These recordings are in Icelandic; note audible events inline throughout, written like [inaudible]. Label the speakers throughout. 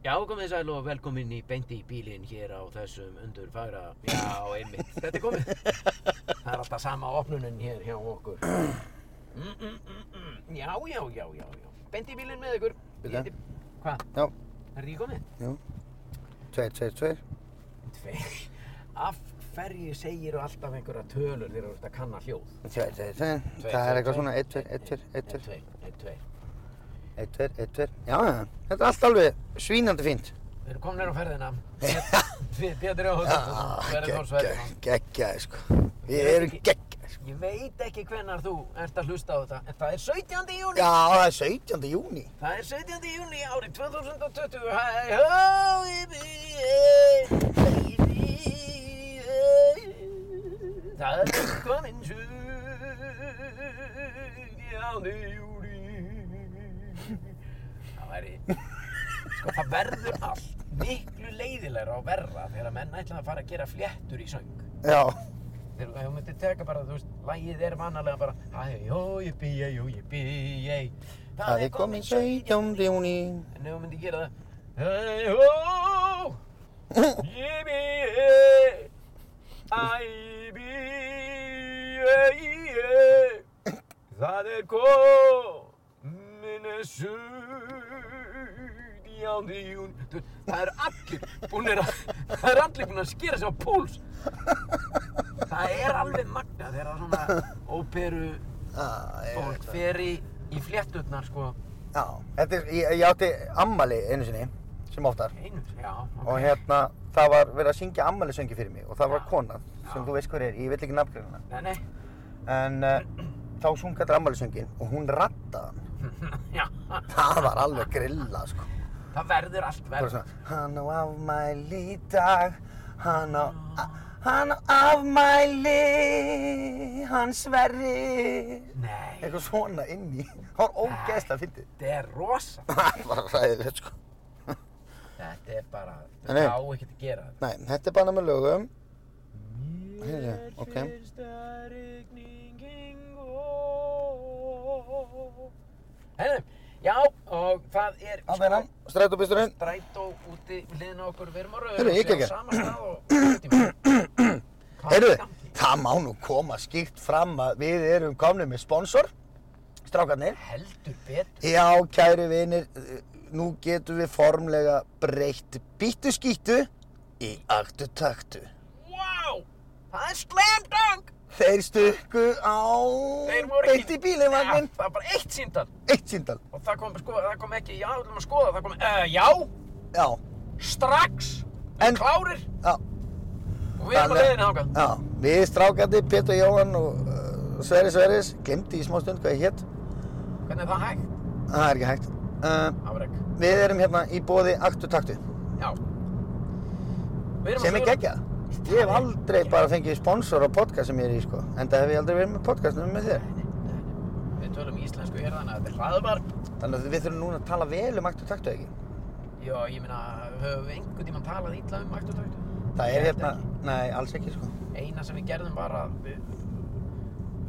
Speaker 1: Já, komið þið sæl og velkomin í beinti í bílinn hér á þessum undurfagra. Já, einmitt, þetta er komið. Það er alltaf sama opnunin hér hjá okkur. Mm, mm, mm, mm. Já, já, já, já, já. Beinti í bílinn með ykkur. Ég
Speaker 2: Bíddu.
Speaker 1: heiti- Hvað,
Speaker 2: Já,
Speaker 1: er þið komið?
Speaker 2: jú. Tveir, tveir, tveir.
Speaker 1: Tveir. Af hverju segir þú alltaf einhverja tölur þegar þú ert að kanna hljóð?
Speaker 2: Tveir, tveir, tveir.
Speaker 1: Tveir,
Speaker 2: Það
Speaker 1: tveir,
Speaker 2: er eitthvað
Speaker 1: tveir.
Speaker 2: svona, eitt, tveir, eitt, tveir, eitt,
Speaker 1: Eitt,
Speaker 2: tveir,
Speaker 1: tveir, eitt, tveir.
Speaker 2: eitt, tveir, eitt, tveir. Já, já, þetta er allt alveg svínandi fínt.
Speaker 1: Við erum komin á
Speaker 2: [laughs]
Speaker 1: ferðina. Pétur Jóhannsson, Sverri Þór Sverrisson.
Speaker 2: geggjaði, Ah, sko. Við erum geggjaði, sko.
Speaker 1: Ég veit ekki hvenar þú ert að hlusta á þetta, en það er 17. júni.
Speaker 2: Já, það er 17. júni.
Speaker 1: Það er 17. júni árið 2020 Hæ, hói, bíði Það er komin 17. júni Það væri Sko, það verður allt miklu leiðilegra og verra þegar menn ætla að fara að gera fléttur í söng
Speaker 2: Já,
Speaker 1: Þegar þegar þú myndir teka bara, þú veist, lægið er vanalega bara Hæ, hói, bíði, hói, bíði
Speaker 2: það er komin 17. júni.
Speaker 1: En ef hún myndi gera það Hey ho Ég bý hey Æ bý hey hey Það er komin Sjöndjándi jún Þú- Það eru allir búinir að Það eru allir búinir að skera sig á púls Það er alveg magna þegar það svona óperu
Speaker 2: Það er
Speaker 1: fólk
Speaker 2: eitthvað.
Speaker 1: fer í, í flétturnar sko
Speaker 2: Já, þetta er, ég, ég átti ammali einu sinni, sem oftar.
Speaker 1: Einu, já, ok.
Speaker 2: Og hérna, það var verið að syngja ammælisöngi fyrir mig og það var
Speaker 1: Já.
Speaker 2: kona
Speaker 1: Já.
Speaker 2: sem þú veist hver er, ég vil ekki nafngreina hana.
Speaker 1: Nei, nei.
Speaker 2: En uh, þá sunga þetta ammælisöngin og hún rattaði hann.
Speaker 1: [laughs] Já,
Speaker 2: Það var alveg grilla, sko.
Speaker 1: það verður allt
Speaker 2: Það var
Speaker 1: verð.
Speaker 2: svona, hann á afmæli í dag, hann á, hann á afmæli, hann sverri.
Speaker 1: Nei,
Speaker 2: Eitthvað svona inn í. Það var ógeðslega fyndið.
Speaker 1: þetta er rosa.
Speaker 2: Það var ræðilegt, sko.
Speaker 1: Þetta er bara,
Speaker 2: Nei, nei.
Speaker 1: þetta á ekkert að gera þetta.
Speaker 2: Nei, þetta er bara með lögum. Heyrðu, ok.
Speaker 1: fyrst að rigningin gó. Herðu, já, og það er,
Speaker 2: Það er hann, strætópisturinn.
Speaker 1: strætó úti við hliðina á okkur, við erum á rauður.
Speaker 2: Heyrðu, ég gekk
Speaker 1: á sama stað og hlutum.
Speaker 2: [clears throat] Heyrðu, það má nú koma skýrt fram að við erum komnið með sponsor, strákarnir.
Speaker 1: Heldur betur.
Speaker 2: Já, kæri vinir, nú getum við formlega breytt býttu skýttu í aktu taktu.
Speaker 1: Wow, það er slam dunk.
Speaker 2: Þeir stukku á beitt í bílivagnin.
Speaker 1: Já, það var bara eitt síndal.
Speaker 2: Eitt síndal,
Speaker 1: Og það kom, sko, það kom ekki, já, við ætlum að skoða, það kom, uh, já,
Speaker 2: já,
Speaker 1: strax,
Speaker 2: En-
Speaker 1: en, klárir
Speaker 2: já.
Speaker 1: og við erum að
Speaker 2: Þannig-
Speaker 1: leiðina ákað.
Speaker 2: Já, við strákarnir, Pétur Jóhann og uh, Sverri Sverris, glemdi í smá stund hvað ég hétt.
Speaker 1: Hvernig er það hægt?
Speaker 2: Það er ekki hægt. Uh,
Speaker 1: Afreg.
Speaker 2: við erum hérna í bóði aktu taktu,
Speaker 1: Já. Við erum
Speaker 2: sem
Speaker 1: að
Speaker 2: er
Speaker 1: skoða-
Speaker 2: geggjað. Ég hef aldrei bara fengið sponsor á podcast sem ég er í sko Enda hef ég aldrei verið með podcastnum með þér
Speaker 1: Við tölum íslensku hér þannig að þetta er hlaðvarp.
Speaker 2: Þannig að við þurfum núna að tala vel um aktu taktu ekki
Speaker 1: Já, ég meina, höfum við einhvern tímann talað ítla um akt og takt?
Speaker 2: Það
Speaker 1: Ég
Speaker 2: er
Speaker 1: held
Speaker 2: hérna, nei alls ekki sko
Speaker 1: Eina sem við gerðum var að við,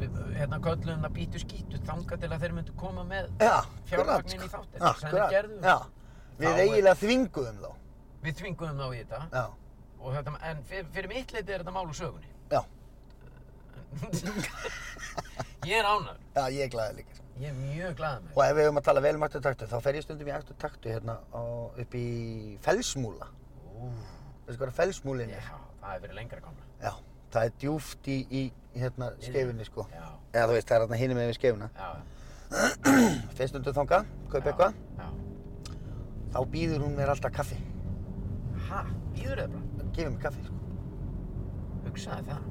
Speaker 1: við hérna köllum það býtu skýtu þanga til að þeir myndu koma með
Speaker 2: Já,
Speaker 1: Fjármagnin
Speaker 2: akkurat, sko.
Speaker 1: í þáttinn,
Speaker 2: Já,
Speaker 1: sem
Speaker 2: akkurat.
Speaker 1: við gerðum.
Speaker 2: Já,
Speaker 1: Þá
Speaker 2: við
Speaker 1: er-
Speaker 2: eiginlega þvinguðum þá
Speaker 1: Við þvinguðum þá í þetta
Speaker 2: Já,
Speaker 1: og þetta, en fyrir, fyrir mitt leiti er þetta mál úr sögunni.
Speaker 2: já,
Speaker 1: [laughs] ég er ánægður.
Speaker 2: já ég er glæðið líka sko.
Speaker 1: Ég er mjög glaðið með
Speaker 2: Og ef við höfum að tala vel um aktu taktu þá fer ég stundum í aktu taktu hérna á, upp í felsmúla
Speaker 1: þetta.
Speaker 2: Veistu hvað er felsmúlin
Speaker 1: Já,
Speaker 2: er?
Speaker 1: það hefur verið lengra komna.
Speaker 2: Já, það er djúft í, í hérna skeifinni sko
Speaker 1: Já,
Speaker 2: Eða þú veist, það er hérna hinum með [clears throat] skeifina
Speaker 1: já.
Speaker 2: Fyrst undur þangað, kaup
Speaker 1: já,
Speaker 2: eitthvað
Speaker 1: Já.
Speaker 2: þá býður hún mér alltaf kaffi.
Speaker 1: Hæ, býður þið bara?
Speaker 2: Gefið mér kaffi, sko.
Speaker 1: Hugsaði það.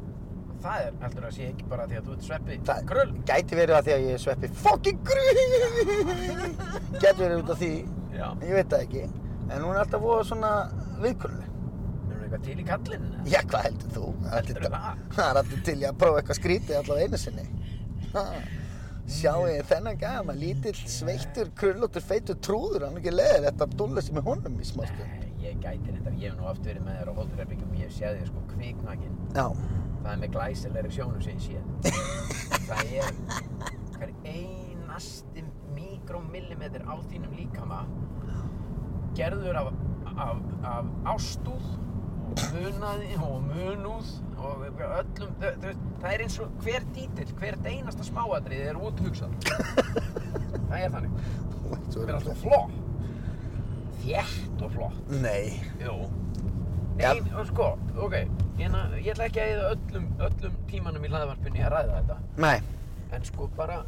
Speaker 1: Og það er, heldur að sé ekki bara því að þú ert sveppi
Speaker 2: Það
Speaker 1: krull.
Speaker 2: gæti verið að því að ég er sveppi fucking [laughs] grýn. Gæti verið út af því,
Speaker 1: Já.
Speaker 2: ég veit það ekki. En hún er alltaf voða svona viðkunnuleg.
Speaker 1: Erum við eitthvað til í kallinn? eða?
Speaker 2: Já, hvað heldur þú?
Speaker 1: Heldur
Speaker 2: Allir-
Speaker 1: það?
Speaker 2: Það er alltaf til ég að prófa eitthvað skrítið allavega einu sinni. Ha, Sjáu ég þennan gæma, lítill, sveittur, krullóttur, feitur, trúður, hann er ekki leiðir þetta að dúlla sér með honum í smástu.
Speaker 1: Nei, ég gæti reyndar. Ég hef nú oft verið með þér á hótturherbyggum og ég sé þér sko kviknakin.
Speaker 2: Já,
Speaker 1: Það er með glæsilegri sjónu sem ég sé. það er hver einasti mikromillimetr á þínum líkama gerður af af, af ástúð og munaði og munúð og öllum, þau- þau- það er eins og hver dítill, hvert einasta smáatrið er úthugsað. það er þannig.
Speaker 2: Þú ert svo
Speaker 1: Það er
Speaker 2: ruglaður.
Speaker 1: alltaf flott. Þjætt og flott.
Speaker 2: Nei,
Speaker 1: Jú.
Speaker 2: Ja.
Speaker 1: Nei, og sko, ok, hérna, ég ætla ekki að eða öllum, öllum tímanum í hlaðvarpunni að ræða þetta.
Speaker 2: nei,
Speaker 1: En sko bara,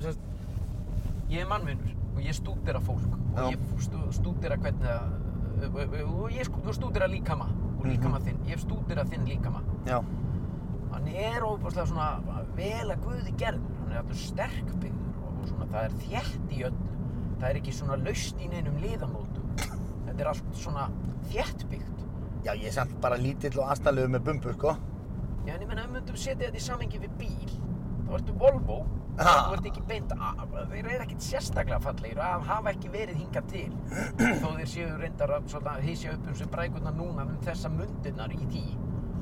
Speaker 1: sérst, ég er mannvinnur og ég stúdera fólk og
Speaker 2: Já.
Speaker 1: ég stú, stúdera hvernig að, og ég sko- og stúdera líkama og líkama þinn, ég stúdera þinn líkama.
Speaker 2: já,
Speaker 1: Hann er óbúslega svona vel að guði gerður, hann er alltaf sterkbyggður og, og svona það er þétt í öllu. Það er ekki svona laust í neinum liðamótum. Þetta er allt svona þéttbyggt.
Speaker 2: já, ég er samt bara lítill og aðstæðlegu með bumbu, sko.
Speaker 1: Já, en ég menna, ef við myndum setja þetta í samengi við bíl, þá ertu Volvo,
Speaker 2: Ha.
Speaker 1: þá ertu ekki beint af, þeir eru ekkert sérstaklega fallegir að hafa ekki verið hingað til, þó þeir séu reyndar að svona, hysja upp um sem brækurnar núna um þessa mundirnar í því.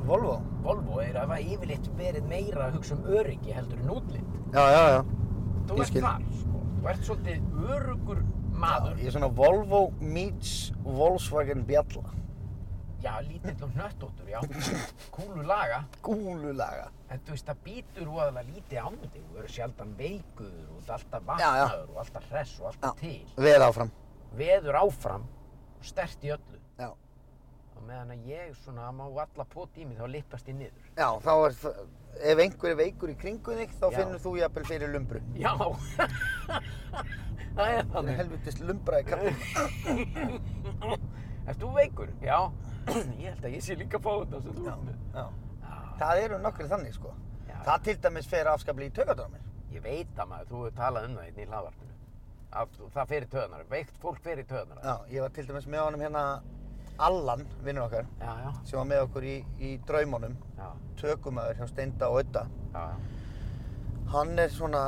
Speaker 2: Volvo?
Speaker 1: Volvo er að hafa yfirleitt verið meira að hugsa um öryggi heldur en útlitt.
Speaker 2: Já, já, já.
Speaker 1: Þú
Speaker 2: Ég
Speaker 1: ert
Speaker 2: skil.
Speaker 1: þar, sko. Þú ert svolítið örugur maður.
Speaker 2: Ég er svona Volvo meets Volkswagen Bjalla.
Speaker 1: Já, lítill og hnöttóttur, já. Kúlu laga.
Speaker 2: Gúlulaga.
Speaker 1: En þú veist, það býtur óaðalega lítið á þig, þú eru sjaldan veikuður og þú ert alltaf
Speaker 2: Já, já.
Speaker 1: vatnaður og alltaf hress og alltaf til.
Speaker 2: Veð áfram.
Speaker 1: Veður áfram, stert í öllu.
Speaker 2: Já.
Speaker 1: Og meðan að ég svona má alla pót í mig þá lippast ég niður.
Speaker 2: Já, þá er það, ef einhver er veikur í kringu þig, þá
Speaker 1: Já.
Speaker 2: finnur þú jafnvel fyrir lumbru.
Speaker 1: Já, [laughs] það er
Speaker 2: Það er
Speaker 1: þannig.
Speaker 2: helvitist lumbra í
Speaker 1: [laughs]
Speaker 2: kappin.
Speaker 1: Ert þú veikur? Já, [clears throat] ég held að ég sé líka fá þetta sem þú
Speaker 2: Já,
Speaker 1: ert með.
Speaker 2: já.
Speaker 1: Já,
Speaker 2: Það eru nokkri þannig, sko.
Speaker 1: Já.
Speaker 2: Það til dæmis fer afskaplega í taugadrámir.
Speaker 1: ég veit að maður, þú hefur talað um það hérna í hlaðvarpinu. Að þú- Það fer í töðanar, veikt fólk fer í töðanar.
Speaker 2: Já, ég var til dæmis með honum hérna Allan, vinnur okkar,
Speaker 1: Já, já,
Speaker 2: sem var með okkur í, í draumunum,
Speaker 1: já,
Speaker 2: tökumöður hjá Steinda og Ötta.
Speaker 1: já, já.
Speaker 2: Hann er svona,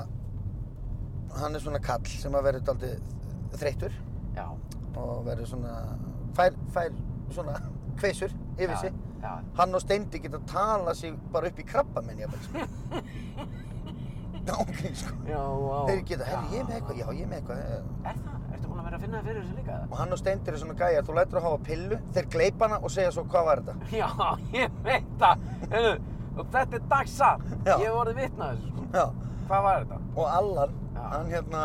Speaker 2: hann er svona kall sem að verður daldið þreyttur
Speaker 1: já.
Speaker 2: og verður svona, fær, fær svona [laughs] kveisur yfir
Speaker 1: Já,
Speaker 2: sig.
Speaker 1: já.
Speaker 2: Hann og Steindi geta tala sig bara upp í krabba minn jafnveg, sko.
Speaker 1: [laughs]
Speaker 2: Nákvæm, sko.
Speaker 1: Já, vá.
Speaker 2: Þeir geta, herri, ég er með eitthvað, já, ég er með eitthvað. eh."
Speaker 1: Er það? Ertu búin að vera að finna það fyrir þessu líka?
Speaker 2: Og hann og Steindi eru svona gæjar, þú lætur að hafa pillu, þeir gleipa hana og segja svo hvað var þetta.
Speaker 1: Já, ég veit það. Heyrðu, og þetta er dagsann.
Speaker 2: Já.
Speaker 1: Ég hef orðið vitnað þessu, sko.
Speaker 2: Já.
Speaker 1: Hvað var þetta?
Speaker 2: Og Allan,
Speaker 1: Já.
Speaker 2: hann hérna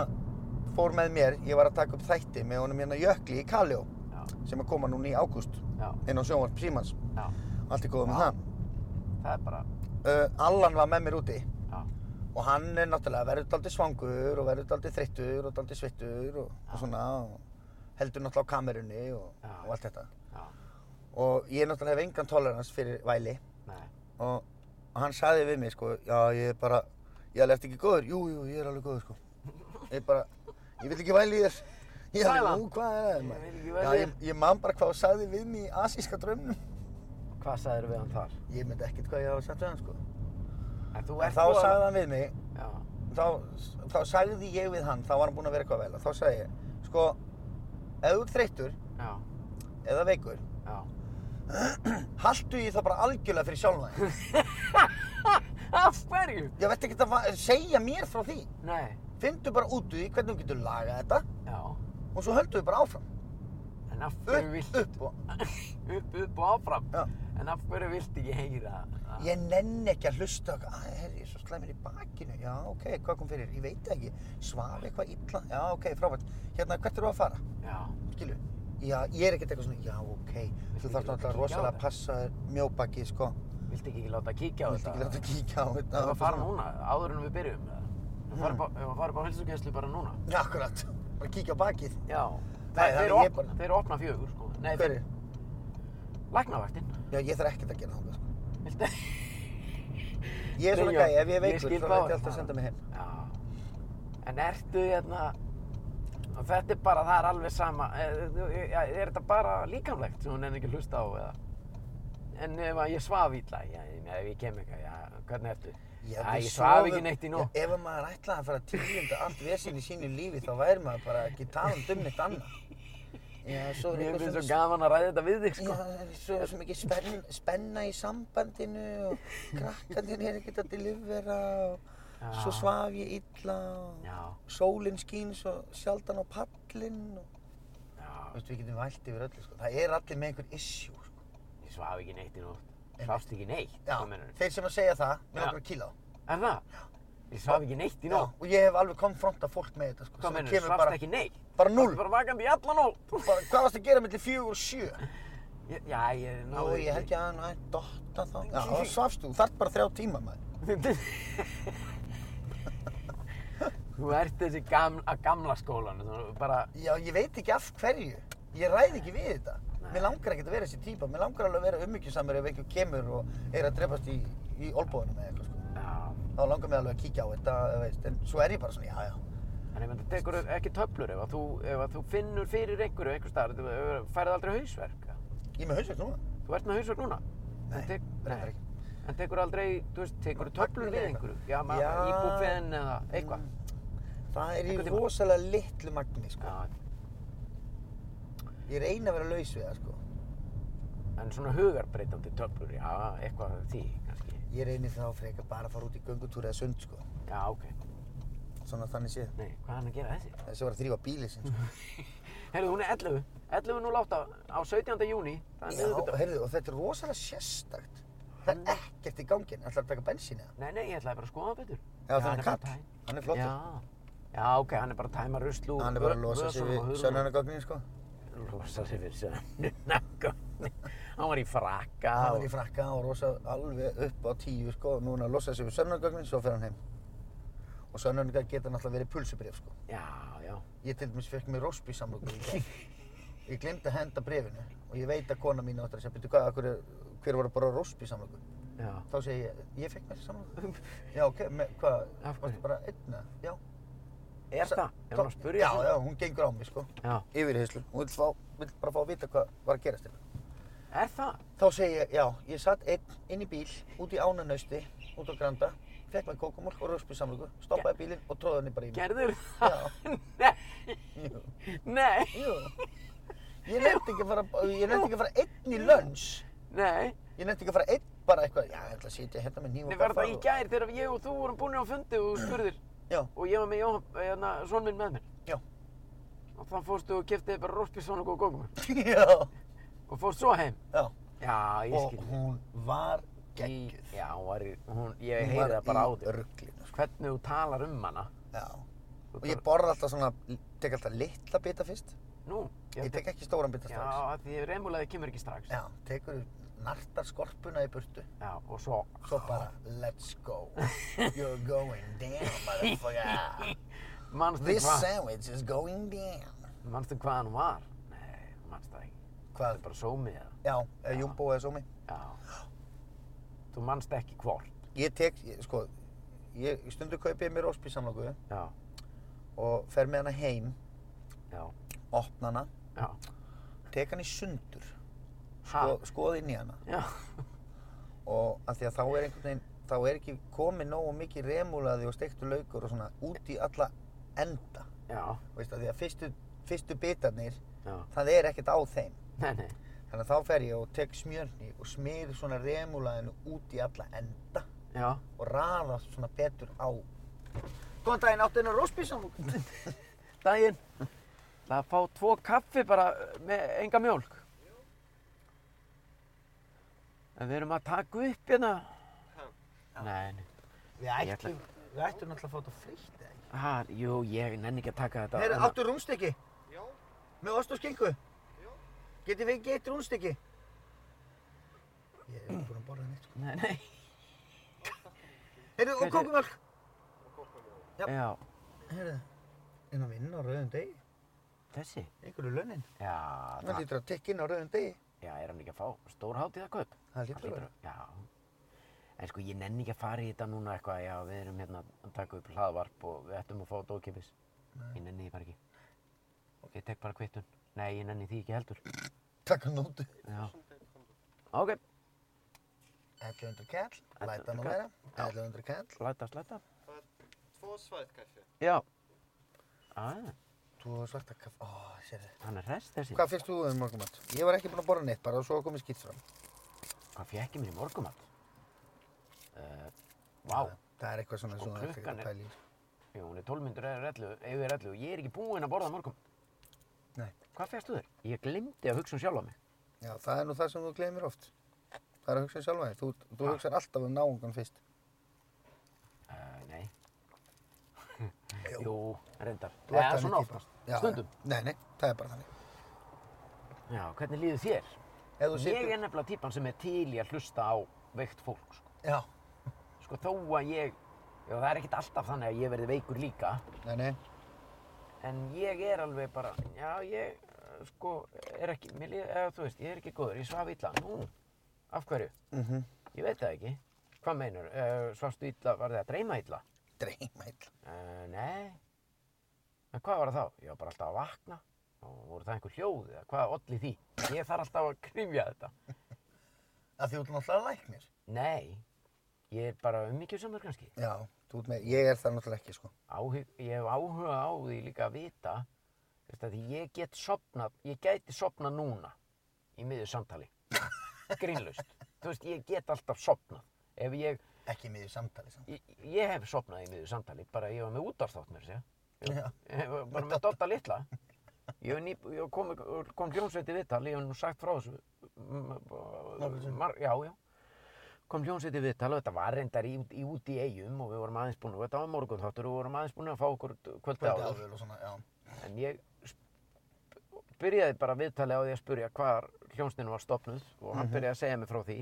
Speaker 2: fór með mér, ég var að taka upp þætti með honum hérna Jökli í Kaljó
Speaker 1: Já,
Speaker 2: sem er koma núna í ágúst
Speaker 1: já,
Speaker 2: inn á sjónvarp Símans.
Speaker 1: já.
Speaker 2: Allt í góða með
Speaker 1: Já.
Speaker 2: það.
Speaker 1: Það er bara,
Speaker 2: Uh, Allan var með mér úti
Speaker 1: já,
Speaker 2: og hann er náttúrulega verður daldið svangur og verður daldið þreyttur og daldið svittur og, og svona og heldur náttúrulega á kamerunni og,
Speaker 1: Já.
Speaker 2: og allt þetta.
Speaker 1: já,
Speaker 2: Og ég náttúrulega hef engan tolerans fyrir væli
Speaker 1: nei,
Speaker 2: og, og hann sagði við mig sko, já ég er bara, ég er alveg eftir ekki góður, jú, jú, ég er alveg góður sko. Ég er bara, ég vil ekki væli í þér. Ég er
Speaker 1: Sagði
Speaker 2: alveg,
Speaker 1: hann?
Speaker 2: nú hvað er það?
Speaker 1: Ég
Speaker 2: maður?"
Speaker 1: vil ekki
Speaker 2: Já,
Speaker 1: væla í
Speaker 2: ég, ég man bara hvað þú sagði við mig í asíska draumnum.
Speaker 1: hvað sagðir við hann þar?
Speaker 2: Ég myndi ekkert hvað ég hafa sagt við hann sko.
Speaker 1: En þú
Speaker 2: En
Speaker 1: ert
Speaker 2: þá
Speaker 1: búin að-
Speaker 2: sagði hann við mig,
Speaker 1: Já,
Speaker 2: þá, þá sagði ég við hann, þá var hann búinn að vera eitthvað vel, þá sagði ég, sko, ef þú ert þreyttur
Speaker 1: já,
Speaker 2: eða veikur,
Speaker 1: já. [laughs]
Speaker 2: haltu ég það bara algjörlega fyrir sjálfan þig.
Speaker 1: Af hverju?
Speaker 2: Ég veit ekki að va- segja mér frá því.
Speaker 1: Nei,
Speaker 2: Findu bara út úr því hvernig þú getur lagað þetta
Speaker 1: já,
Speaker 2: og svo höldum við bara áfram.
Speaker 1: en af hverju
Speaker 2: Upp,
Speaker 1: vilt,
Speaker 2: upp og...
Speaker 1: [laughs] upp, upp og áfram.
Speaker 2: Já.
Speaker 1: En af hverju vilt ekki heyra? það?
Speaker 2: Ég nenni ekki að hlusta og að, herri, ég er svo slæmur í bakinu. Já, ok, hvað kom fyrir? Ég veit það ekki. Svaf eitthvað illa? Já, ok, frábært. Hérna, hvert eru að fara?
Speaker 1: Já,
Speaker 2: Skilju? Já, ég er ekkert eitthvað svona, já, ok. Þú þarf náttúrulega rosalega að passa þér mjóbaki, sko.
Speaker 1: vilt ekki láta kíkja á
Speaker 2: Ég
Speaker 1: þetta?
Speaker 2: ætti ekki láta að kíkja á þetta.
Speaker 1: Ef að fara núna, áður en við byrjum eða? Ef að fara upp á- ef að fara upp á helsugæslu bara núna?
Speaker 2: Já, akkurat. Bara kíkja á bakið.
Speaker 1: Já.
Speaker 2: Nei,
Speaker 1: þeir,
Speaker 2: þannig
Speaker 1: opna,
Speaker 2: ég bara-
Speaker 1: þeir opna fjögur sko. Nei,
Speaker 2: Hver er?
Speaker 1: Læknavaktinn.
Speaker 2: Já, ég þarf ekkert að gera það. sko.
Speaker 1: Viltu?
Speaker 2: Ég er svona
Speaker 1: Nei, já,
Speaker 2: gæi, ef ég er
Speaker 1: ég
Speaker 2: veikur,
Speaker 1: skil
Speaker 2: þá
Speaker 1: hvað þú
Speaker 2: veit ég
Speaker 1: ert
Speaker 2: alltaf að
Speaker 1: að
Speaker 2: senda mig heim.
Speaker 1: Já. En ertu hérna, og þetta er bara, það er alveg sama, Eh, er, er þetta bara líkamlegt sem hún enn ekki að hlusta á eða? En ef að ég svaf ítla, já, ef ég kem eitthvað, já, hvernig ertu? Já,
Speaker 2: við
Speaker 1: ég svaf ekki
Speaker 2: sofum-
Speaker 1: neitt í
Speaker 2: Já,
Speaker 1: nótt.
Speaker 2: Ef að maður ætlaði að fara að tilgjönda allt vesinn í sínu lífi, þá væri maður bara ekki talað um neitt annað. Já, svo er
Speaker 1: Mér
Speaker 2: eitthvað
Speaker 1: finnst svo
Speaker 2: svona...
Speaker 1: gaman að ræða þetta við þig,
Speaker 2: Já,
Speaker 1: sko.
Speaker 2: það er svo, svo mikið spenn, spenna í sambandinu og [laughs] krakkandir er ekkert að delivera og svo
Speaker 1: Já.
Speaker 2: svaf ég illa og
Speaker 1: Já,
Speaker 2: sólinn skín svo sjaldan á pallinn og
Speaker 1: já,
Speaker 2: Þú veist, við getum vælt yfir öllu, sko. Það er allir með einhver issue, sko.
Speaker 1: Ég svaf ekki neitt í nótt.
Speaker 2: Einmitt.
Speaker 1: Svafst ekki neitt?
Speaker 2: Já,
Speaker 1: hvað meinarðu?
Speaker 2: þeir sem að segja það,
Speaker 1: Já.
Speaker 2: með okkur að kýla á.
Speaker 1: Er það? Ég svaf ekki neitt í
Speaker 2: Já,
Speaker 1: nótt.
Speaker 2: og ég hef alveg konfrontað fólk með þetta, sko.
Speaker 1: Hvað
Speaker 2: sem
Speaker 1: mennur? Svafst
Speaker 2: bara,
Speaker 1: ekki neitt?
Speaker 2: Bara null.
Speaker 1: Varstu bara vakandi í alla nótt?
Speaker 2: Bara, hvað varst að gera millir fjögur og sjö?
Speaker 1: Ég- Já, ég
Speaker 2: Ná,
Speaker 1: náði
Speaker 2: ég held ég að hann að dotta þá. Já,
Speaker 1: Ekki-
Speaker 2: þá svafst þú. Þú þarft bara þrjá tíma, maður.
Speaker 1: [laughs] Þú ert þessi gamla, að gamla skólan, þú bara,
Speaker 2: Já, ég veit ekki af hverju. Ég ræð ekki við þetta.
Speaker 1: Nei.
Speaker 2: Mér langar ekki að vera þessi típa. Mér langar alveg að vera ummyggjusamur ef einhver kemur og er að drefast í, í olbóðinu með eitthvað, sko.
Speaker 1: já,
Speaker 2: Þá langar mér alveg að kíkja á þetta, veist. En svo er ég bara svona, já, já.
Speaker 1: en ég myndi tekur ekki töflur ef að þú, ef að þú finnur fyrir einhverju einhver starf, þú þú færið aldrei hausverk. eða?
Speaker 2: Ég er með hausverk núna.
Speaker 1: Þú ert með hausverk núna? En
Speaker 2: Nei,
Speaker 1: tek-
Speaker 2: reyndar ekki.
Speaker 1: En tekur aldrei, þú veist, tekur
Speaker 2: Magnið
Speaker 1: töflur við
Speaker 2: eða
Speaker 1: einhverju?
Speaker 2: eitthvað.
Speaker 1: Já, já.
Speaker 2: Já.
Speaker 1: í búfinn eða eitthvað.
Speaker 2: Mm, Það er í
Speaker 1: Einhvern tímann.
Speaker 2: rosalega litlu magni, sko.
Speaker 1: Já,
Speaker 2: Ég reyna að vera laus við það, sko.
Speaker 1: en svona hugarbreytandi töflur, já, eitthvað af því, kannski.
Speaker 2: Ég reyni þá frekar bara að fara út í göngutúr eða sund, sko.
Speaker 1: Já, ok.
Speaker 2: Svona þannig séð.
Speaker 1: Nei, hvað er hann að gera þessi? [laughs]
Speaker 2: Þessi var að þrýfa bílið sinn, sko.
Speaker 1: Heyrðu, hún er 11. 11 nú láta á 17. júni. Það er
Speaker 2: Já,
Speaker 1: miðvikudagur.
Speaker 2: heyrðu, og þetta er rosalega sérstakt. Það er ekkert í gangin. Það ætlar að taka bensín eða?
Speaker 1: Nei, nei, ég ætlaði bara að skoða hann betur.
Speaker 2: Já,
Speaker 1: hann
Speaker 2: þannig
Speaker 1: er bara
Speaker 2: kall.
Speaker 1: tæ-
Speaker 2: Hann er flottur.
Speaker 1: Já. Já, ok, hann er bara að tæma ruslu úr
Speaker 2: Hann er bara að
Speaker 1: vö-
Speaker 2: losa sig
Speaker 1: vösunum og
Speaker 2: við
Speaker 1: hurðum.
Speaker 2: sönnunargögnin, sko.
Speaker 1: Losa sig við sönnunagögnin. [laughs] Hann var í frakka.
Speaker 2: Hann
Speaker 1: og-
Speaker 2: er í frakka og rosa alveg upp á tíu, sko. Nú er hann að losa sig við sönnunargögnin, svo fer hann heim. Og sönnunargögn geta náttúrulega verið pulsubrif, sko.
Speaker 1: Já, já.
Speaker 2: Ég til dæmis fekk mér rospi samlokur í
Speaker 1: [laughs]
Speaker 2: dag. Ég glemdi að henda brefinu og ég veit að kona mín áttur að segja, betur hvað, af hverju- hver var að bara rospi samlokur?
Speaker 1: Já.
Speaker 2: Þá segi ég, ég fekk mér samlokur.
Speaker 1: [laughs]
Speaker 2: Já, ok, með, hvað,
Speaker 1: Af hverju?
Speaker 2: varstu bara einna? Já.
Speaker 1: Er
Speaker 2: Sa-
Speaker 1: það? Er hann að spurja
Speaker 2: Já, já, hún gengur á mig, sko.
Speaker 1: Já.
Speaker 2: Yfirheyslur. Hún vill, fá, vill bara fá að vita hvað var að gerast hérna.
Speaker 1: Er það?
Speaker 2: Þá segi ég, já, ég satt einn inn í bíl, út í ánanausti, út á Granda, fekk mér kókumólk og rospi samlokur, stoppaði bílinn og tróði henni bara í mig.
Speaker 1: Gerður
Speaker 2: Já.
Speaker 1: það? [laughs] Nei.
Speaker 2: Jú.
Speaker 1: Nei.
Speaker 2: Jú. Ég nefndi ekki að fara, ég nefndi ekki að fara einn í lönns.
Speaker 1: Nei.
Speaker 2: Ég nefndi ekki að fara einn bara eitthvað, já, ég ætla að sitja hérna með nýjum
Speaker 1: Við verðum í gær þegar ég og þú vorum búin á fundi og þú spurðir
Speaker 2: Já. [laughs]
Speaker 1: og ég var með Jóhann, hérna, son minn með mér
Speaker 2: Já.
Speaker 1: og þann fórstu og keftiði bara rospisón og góðgóð
Speaker 2: já,
Speaker 1: og fórst svo heim.
Speaker 2: já.
Speaker 1: Já, ég
Speaker 2: Og
Speaker 1: skil.
Speaker 2: hún var
Speaker 1: Í-
Speaker 2: geggjuð.
Speaker 1: Já, hún var í, hún, ég
Speaker 2: Hún
Speaker 1: heyri
Speaker 2: var
Speaker 1: það bara á
Speaker 2: í
Speaker 1: þér.
Speaker 2: ruglinu, sko.
Speaker 1: Hvernig þú talar um hana.
Speaker 2: Já.
Speaker 1: Þú
Speaker 2: Og ég
Speaker 1: tar-
Speaker 2: borða alltaf svona, tek alltaf litla bita fyrst.
Speaker 1: Nú,
Speaker 2: Ég tek ekki stóran bita
Speaker 1: Já,
Speaker 2: strax.
Speaker 1: af því reymulaði kemur ekki strax.
Speaker 2: Já, tekur nartar skorpuna í burtu.
Speaker 1: Já, og svo.
Speaker 2: Svo bara, let's
Speaker 1: [laughs]
Speaker 2: go. You're going down,
Speaker 1: [laughs]
Speaker 2: motherfucker.
Speaker 1: Manstu
Speaker 2: This
Speaker 1: hvað,
Speaker 2: sandwich is going down.
Speaker 1: manstu hvað hann var? Nei, manstu það ekki. Það
Speaker 2: Hvað?
Speaker 1: er bara sómið það.
Speaker 2: Já, eða Jumbo eða Sómi.
Speaker 1: Já. Þú manst ekki hvort.
Speaker 2: Ég tek, ég, sko, ég stundu kaupi ég mér óspísamlóku
Speaker 1: Já,
Speaker 2: og fer með hana heim,
Speaker 1: já,
Speaker 2: opna hana,
Speaker 1: já.
Speaker 2: tek hana í sundur,
Speaker 1: Ha,
Speaker 2: sko, skoða inn í hana
Speaker 1: já. [laughs]
Speaker 2: og af því að þá er einhvern veginn, þá er ekki komið nógu mikið remúlaði og steiktu laukur og svona út í alla enda,
Speaker 1: Já,
Speaker 2: veist að því að fyrstu, fyrstu bitarnir,
Speaker 1: já.
Speaker 2: það er ekkert á þeim.
Speaker 1: Nei, nei.
Speaker 2: Þannig að þá fer ég og tek smjörni og smyr svona remúlaðinu út í alla enda
Speaker 1: Já.
Speaker 2: og raða svona betur á. Góðan daginn, áttu hennar róspísamlóku?
Speaker 1: Daginn. Það að fá tvo kaffi bara uh, með enga mjólk. En við erum að taka upp hérna. Nei, nei.
Speaker 2: Við
Speaker 1: Ég
Speaker 2: ætlum, við ætlum alltaf að fá þetta frítt eða ekki?
Speaker 1: Ha, jú, ég nenni ekki að taka þetta.
Speaker 2: Herru,
Speaker 1: hérna.
Speaker 2: áttu rúmstykki? Já. Með ost og skingu? Já. Getið við gett rúmstykki? Ég er ekki búinn að borða neitt. sko.
Speaker 1: Nei, nei. Hverju-
Speaker 2: Herru, og kókumjölk? Já.
Speaker 1: Já,
Speaker 2: Herru, en að vinna á rauðum degi?
Speaker 1: þessi.
Speaker 2: Einhverju launin?
Speaker 1: Já,
Speaker 2: Það
Speaker 1: það.
Speaker 2: lítur að tekka inn á rauðum degi.
Speaker 1: Já, er hann ekki að fá stórhátíða kaup?
Speaker 2: Það hlýtur að vera.
Speaker 1: Já. En sko, ég nenni ekki að fara í þetta núna eitthvað. Já, við erum hérna að taka upp hlaðvarp og við ættum að fá þetta ókipis. Ég nenni því bara ekki. Ég tek bara kvittun. Nei, ég nenni því ekki heldur.
Speaker 2: Takk að nótu.
Speaker 1: Já. Ok,
Speaker 2: 1100 kall,
Speaker 1: 1100
Speaker 2: læta hann að
Speaker 1: kall.
Speaker 2: vera.
Speaker 1: Já.
Speaker 2: 1100 kall,
Speaker 1: slæta, slæta.
Speaker 3: Två svart kaffe.
Speaker 1: Já. Ah,
Speaker 2: þú svarta kaff. Ó, sér þið.
Speaker 1: hann er rest þessi.
Speaker 2: Hvað fyrst þú um morgumat? Ég var ekki búinn að borða neitt bara og svo komið skýtt fram.
Speaker 1: Hvað fekk ég mér í morgumat? Uh, vá,
Speaker 2: Það er eitthvað svona
Speaker 1: Sko,
Speaker 2: svona
Speaker 1: klukkan er-
Speaker 2: pæli.
Speaker 1: Jú, hún er 12 minntur eða rellu, ef við rellu. Ég er ekki búinn að borða morgum.
Speaker 2: Nei.
Speaker 1: Hvað fegstu þér? Ég glemdi að hugsa um sjálfa mig.
Speaker 2: Já, það er nú það sem þú gleymir oft. Það er að hugsa um sjálfa þér. Þú, þú
Speaker 1: Ha.
Speaker 2: hugsar alltaf um náungan fyrst.
Speaker 1: Uh, nei.
Speaker 2: Jú.
Speaker 1: Jú, reyndar.
Speaker 2: Þú ert
Speaker 1: Eða
Speaker 2: þannig
Speaker 1: svona
Speaker 2: típa.
Speaker 1: oftast.
Speaker 2: Já,
Speaker 1: Stundum.
Speaker 2: Já. Nei, nei, það er bara þannig.
Speaker 1: Já, hvernig líður þér?
Speaker 2: Ef þú
Speaker 1: Ég
Speaker 2: situr...
Speaker 1: er nefnilega típan sem er til í að hlusta á veikt fólk, sko.
Speaker 2: Já.
Speaker 1: Sko þó að ég, já það er ekkert alltaf þannig að ég verði veikur líka,
Speaker 2: Nei, nei.
Speaker 1: en ég er alveg bara, já ég, eh, sko, er ekki, mér líður, eða þú veist, ég er ekki góður, ég svaf illa, nú, af hverju?
Speaker 2: Mm -hmm.
Speaker 1: Ég veit það ekki. Hvað meinur, uh, svafstu illa, var það að dreyma illa?
Speaker 2: Dreyma illa.
Speaker 1: Uh, nei. En hvað var það þá? Ég var bara alltaf að vakna. Og voru það einhver hljóð eða hvað olli því? Ég þarf alltaf að krifja þetta.
Speaker 2: Af því þú ert náttúrulega læknir.
Speaker 1: Nei, ég er bara ummyggjusamur kannski.
Speaker 2: Já, þú ert með... Ég er það náttúrulega ekki, sko.
Speaker 1: Áhug, ég hef áhuga á því líka að vita. Þú veist að ég get sopnað, ég gæti sopnað núna í miður samtali. Grínlaust. Þú veist, ég get alltaf sopnað. Ef ég,
Speaker 2: Ekki miður samtali samt.
Speaker 1: ég, ég hef sopnað í miður samtali, bara ég var með útarstátt mér, segja.
Speaker 2: Já.
Speaker 1: Ég var Eh, bara með Dotta litla ég, var ný, ég kom, kom hljónsveit í viðtal ég hef nú sagt frá þessu m-
Speaker 2: Nokkrum
Speaker 1: b-
Speaker 2: sinnum.
Speaker 1: mar, já, já kom hljónsveit í viðtal og þetta var reyndar í, í, út í eigum og við vorum aðeins búin og þetta var morgun þáttur og við vorum aðeins búin að fá okkur kvöldi
Speaker 2: Kvöldi
Speaker 1: áður
Speaker 2: áður og svona, já.
Speaker 1: en ég sp- byrjaði bara viðtalið á því að spurja hvar hljónsninu var stopnuð og hann byrjaði að segja mig frá því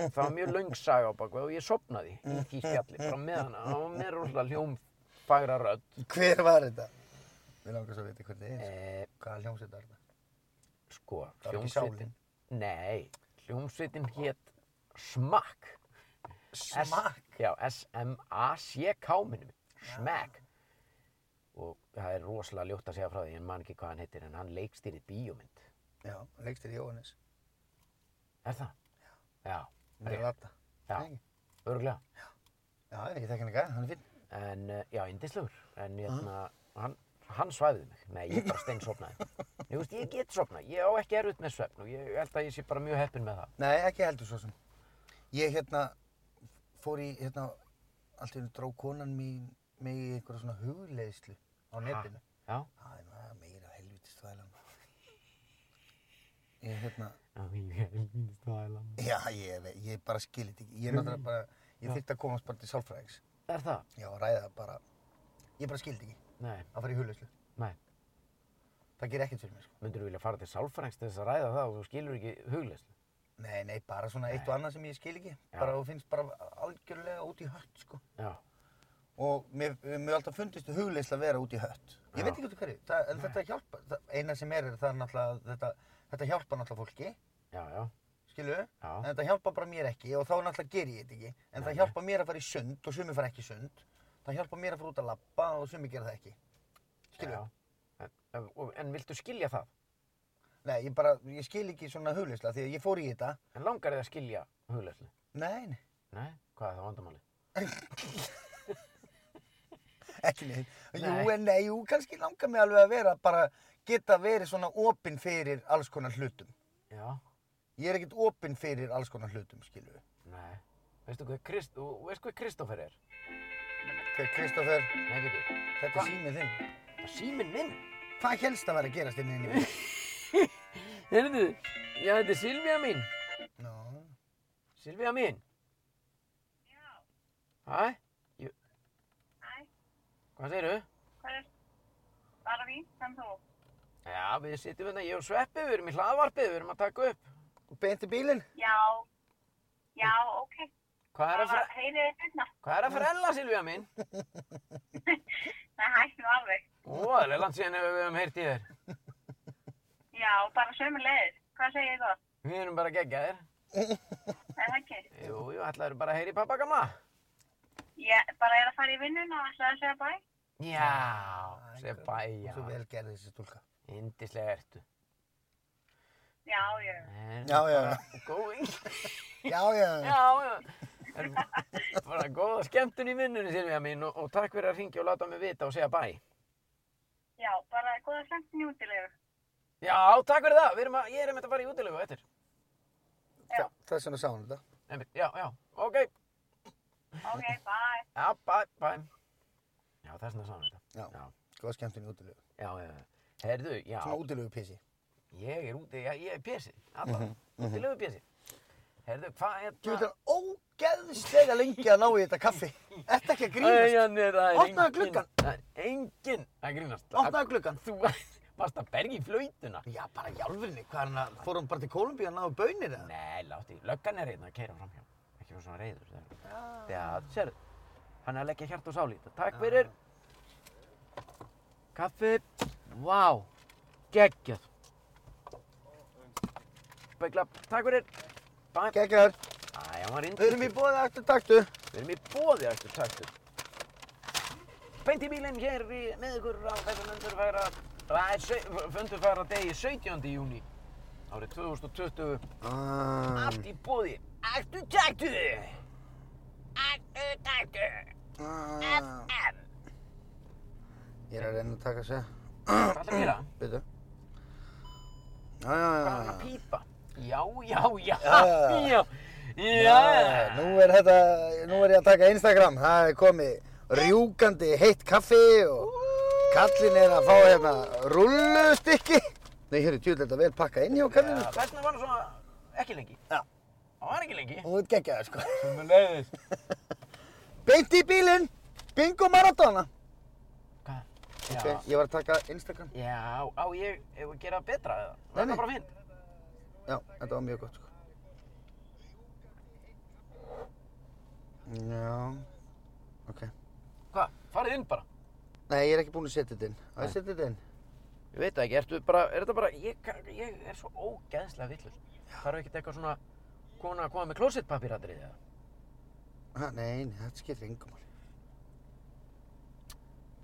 Speaker 1: það var mjög löng saga á bakveð og ég sopnaði í því spjalli frá meðan hann var með rosalega hljómfagra rödd
Speaker 2: Hver var þetta? Við langar svo að vita hver þetta er.
Speaker 1: eh,
Speaker 2: sko. Hvaða hljómsveit er þetta?
Speaker 1: sko,
Speaker 2: Það var ekki
Speaker 1: hljómsveitin Nei, hljómsveitin hétt Smakk S-
Speaker 2: Smakk.
Speaker 1: Já, S-M-A-C-K minni mig, Smakk og það er rosalega ljótt að segja frá því en man ekki hvað hann heitir en hann leikstýrið bíómynd
Speaker 2: Já, leikstir Jóhannes.
Speaker 1: Er það? Já,
Speaker 2: Það er rata.
Speaker 1: já,
Speaker 2: Nei.
Speaker 1: örgulega
Speaker 2: Já, ég þekk hann ekki að, hann er finn.
Speaker 1: en, eh, já, indislegur en hérna, hann, hann svæfði mig Nei, ég bara steinsofnaði Ég veist, ég get sofnað, ég á ekki erfitt með svefn og ég held að ég sé bara mjög heppinn með það
Speaker 2: Nei, ekki heldur svo sem. Ég hérna fór í, hérna, allt í hennu dró konan mín mig í einhverja svona hugleiðslu á netinu.
Speaker 1: Já,
Speaker 2: Það er maður meira helvítist þvælan. Ég hérna,
Speaker 1: ég er minnst aðeins
Speaker 2: já, ég, ve- ég bara skil þetta ekki. Ég er náttúrulega bara, ég þyrfti að komast bara til sálfræðings.
Speaker 1: Er það?
Speaker 2: Já, að ræða bara, ég bara skil þetta ekki
Speaker 1: Nei,
Speaker 2: að fara í hugleiðslu.
Speaker 1: nei.
Speaker 2: Það gerir ekkert fyrir mér, sko.
Speaker 1: Myndur þú vilja fara til sálfræðings til þess að ræða það og þú skilur ekki hugleyslu?
Speaker 2: Nei, nei, bara svona eitt og annað sem ég skil ekki.
Speaker 1: Já.
Speaker 2: Bara, þú finnst bara algjörlega út í hött, sko.
Speaker 1: Já.
Speaker 2: og mér hefur alltaf fundist hugleysla að vera út í hött. Ég
Speaker 1: Já.
Speaker 2: veit ekki út í hverju, það, en þetta hjálpa, það, eina sem er, er það er náttúrulega, að þetta, þetta hjálpa náttúrulega fólki,
Speaker 1: Já, já.
Speaker 2: skilu,
Speaker 1: Já.
Speaker 2: en þetta hjálpa bara mér ekki og þá náttúrulega ger ég þetta ekki,
Speaker 1: Nei,
Speaker 2: en það hjálpa mér að fara í sund og sumi fara ekki í sund, það hjálpa mér að fara út að labba og sumi gera það ekki, skilu.
Speaker 1: Já. En, en, og- en viltu skilja það?
Speaker 2: Nei, ég bara, ég skil ekki svona hugleysla því að ég fór í þetta,
Speaker 1: En langar þið að skilja hugleyslu?
Speaker 2: nei, [laughs] nei,
Speaker 1: Nei. Hvað er það vandamáli?
Speaker 2: ekki neitt,
Speaker 1: Nei.
Speaker 2: jú, en nei, jú, kannski langar mig alveg að vera, bara geta verið svona opinn fyrir alls konar hlutum.
Speaker 1: Já.
Speaker 2: Ég er ekkert opinn fyrir alls konar hlutum, skilu.
Speaker 1: Nei. Veistu hvað Krist, og veistu hvað Kristoffer er?
Speaker 2: Hver Kristoffer,
Speaker 1: Nei, við þið.
Speaker 2: þetta
Speaker 1: Hva?
Speaker 2: er símið þinn.
Speaker 1: Það er síminn minn.
Speaker 2: Hvað helst að vera að gerast inn í mér?
Speaker 1: Heyrðu, já, þetta er Silvía mín.
Speaker 2: Nó,
Speaker 1: Silvía mín. Já. Hæ? Jú.
Speaker 4: Hæ.
Speaker 1: Hvað segirðu?
Speaker 4: Hvað er bara mín, sem þú?
Speaker 1: Já, við sittum hérna, ég og Sveppi, við erum í hlaðvarpið, við erum að taka upp.
Speaker 2: og beint í bílinn?
Speaker 4: Já, já, ok.
Speaker 1: Hvað er
Speaker 4: Það
Speaker 1: að,
Speaker 4: var
Speaker 1: fre
Speaker 4: heilið þetta.
Speaker 1: hvað er að frella, Silvía mín?
Speaker 4: Nei, hætti nú alveg.
Speaker 1: Ó, það er langt síðan ef við höfum heyrt í þér.
Speaker 4: Já, bara sömu leiðir. Hvað segir ég gott?
Speaker 1: Við erum bara geggjaðir.
Speaker 4: Er það ekki?
Speaker 1: Jú, jú, ætlaður bara að heyri pappa gamla.
Speaker 4: Ég bara er að fara í vinnun og ætlaði að segja bæ.
Speaker 1: Já,
Speaker 2: Æ,
Speaker 1: sem
Speaker 2: Og svo
Speaker 1: bæja.
Speaker 2: vel gerði þessi stúlka.
Speaker 1: Indislega ertu.
Speaker 4: Já, já.
Speaker 1: Er
Speaker 2: Já, já, já.
Speaker 1: bara Góð,
Speaker 2: Já, já, já.
Speaker 1: já, já. Er bara góða skemmtun í vinnunni, Silvía mín, og, og takk fyrir að ringja og láta mig vita og segja bæ.
Speaker 4: Já, bara góða skemmtinn í útilegu.
Speaker 1: Já, takk fyrir það. Við erum að, ég er einmitt að fara í útilegu eftir.
Speaker 2: Þa- Þess vegna sá hún þetta.
Speaker 1: Einmitt, já, já, ok.
Speaker 4: Ok, bye.
Speaker 1: Já, bæ, bæ. Já, þess vegna sá hann þetta.
Speaker 2: Já.
Speaker 1: Já,
Speaker 2: Góða Sko, skemmtun í útilegu.
Speaker 1: já, já. já. Herðu, já,
Speaker 2: Svona útilegu pissi.
Speaker 1: ég er úti, já, ég er pjessi, allavega, útilegu pjessi. Herðu, hvað
Speaker 2: Þú
Speaker 1: hérna?
Speaker 2: veit hann ógeðslega lengi að ná í þetta kaffi. Ertu ekki að
Speaker 1: Æ,
Speaker 2: grínast?
Speaker 1: hann er- það er
Speaker 2: Opnaðu
Speaker 1: enginn-
Speaker 2: gluggann.
Speaker 1: Það er enginn að grínast.
Speaker 2: Opnaðu gluggann.
Speaker 1: Þú [laughs] varst að bergi flöytuna.
Speaker 2: Já, bara í alvörinni. Hvað er hann að, fór hann bara til Kólumbíu að ná bönir eða?
Speaker 1: Nei, látti, löggan er hérna að keira framhjá. Ekki fyrir svona reyður. Það er- Já, sérðu, hann er að leggja hjart og sál í þetta. Takk fyrir. Kaffi. Vá, geggjað. Begla, takk fyrir. Bæ.
Speaker 2: Gekkar,
Speaker 1: Æ, hann var
Speaker 2: við erum
Speaker 1: reyndið.
Speaker 2: í bóði aftur taktu.
Speaker 1: Við erum í bóði eftir taktur. Beint í bílinn hér í, með ykkur á þessum undurfæra, að, sau- undurfæra degi 17. júni árið 2020. Allt í bóði. Ættu taktu! Ættu taktu!
Speaker 2: Ég
Speaker 1: En,
Speaker 2: er að reyna að taka sér.
Speaker 1: hvað ætlar að gera?
Speaker 2: Býtu. Já, já, já,
Speaker 1: Hvað er að
Speaker 2: já.
Speaker 1: pípa? Já, já, já,
Speaker 2: Já.
Speaker 1: já,
Speaker 2: Já,
Speaker 1: já.
Speaker 2: Nú er þetta, nú er ég að taka Instagram. Það er komið rjúkandi heitt kaffi og kallinn er að fá hérna rullustykki. Nei, hér er tjóðlega vel pakkað inn hjá kallinu.
Speaker 1: Já, Þessna var hann svona ekki lengi.
Speaker 2: Já.
Speaker 1: Það var ekki lengi.
Speaker 2: Þú ert geggjaður sko.
Speaker 1: Sem er leiðis.
Speaker 2: Beint í bílinn, bingo maradona.
Speaker 1: Hvað?
Speaker 2: Ok,
Speaker 1: Já.
Speaker 2: ég var að taka Instagram.
Speaker 1: Já, á ég, ef við gera betra eða?
Speaker 2: Nei,
Speaker 1: Það
Speaker 2: nei.
Speaker 1: er bara fint.
Speaker 2: Já, þetta var mjög gott sko. Já, ok.
Speaker 1: Hvað, farið inn bara.
Speaker 2: Nei, ég er ekki búinn að setja þetta inn. Á ég að setja þetta inn?
Speaker 1: Ég veit það ekki, ertu bara, er þetta bara, ég, kann- ég er svo ógeðslega villur. Þarf ekkert eitthvað svona, kona að koma með klósettpapíratrið eða?
Speaker 2: Ha, nei, nei, þetta skiptir engum máli.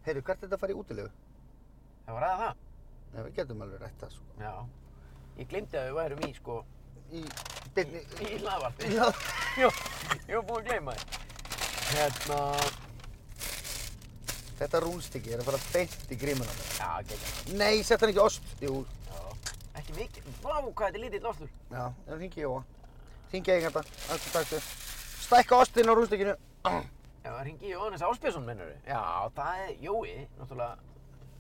Speaker 2: Heyrðu, hvert er þetta að fara í útilegu?
Speaker 1: Það var aða það?
Speaker 2: Nei, við getum alveg rætt það sko.
Speaker 1: Já. Ég glimti að við værum í, sko,
Speaker 2: Í
Speaker 1: í,
Speaker 2: beinni...
Speaker 1: í hlaðvarpi.
Speaker 2: Já.
Speaker 1: [laughs] Jú, ég var búinn að gleyma þér. Hérna,
Speaker 2: Þetta rúnstykki er að fara beint í grímuna. mér.
Speaker 1: já, getur.
Speaker 2: Nei, sett hann ekki ost. Jú,
Speaker 1: Já. Ekki mikið, vá, hvað þetta er lítill ostur.
Speaker 2: já, en hringi Jóa. Hringi hérna. eiganda, aftur taktu. Stækka ostinn á rúnstykkinu. Ah.
Speaker 1: Já, ringi Jóhannes Áspjösson, mennur við. Já, það er Jói, náttúrulega,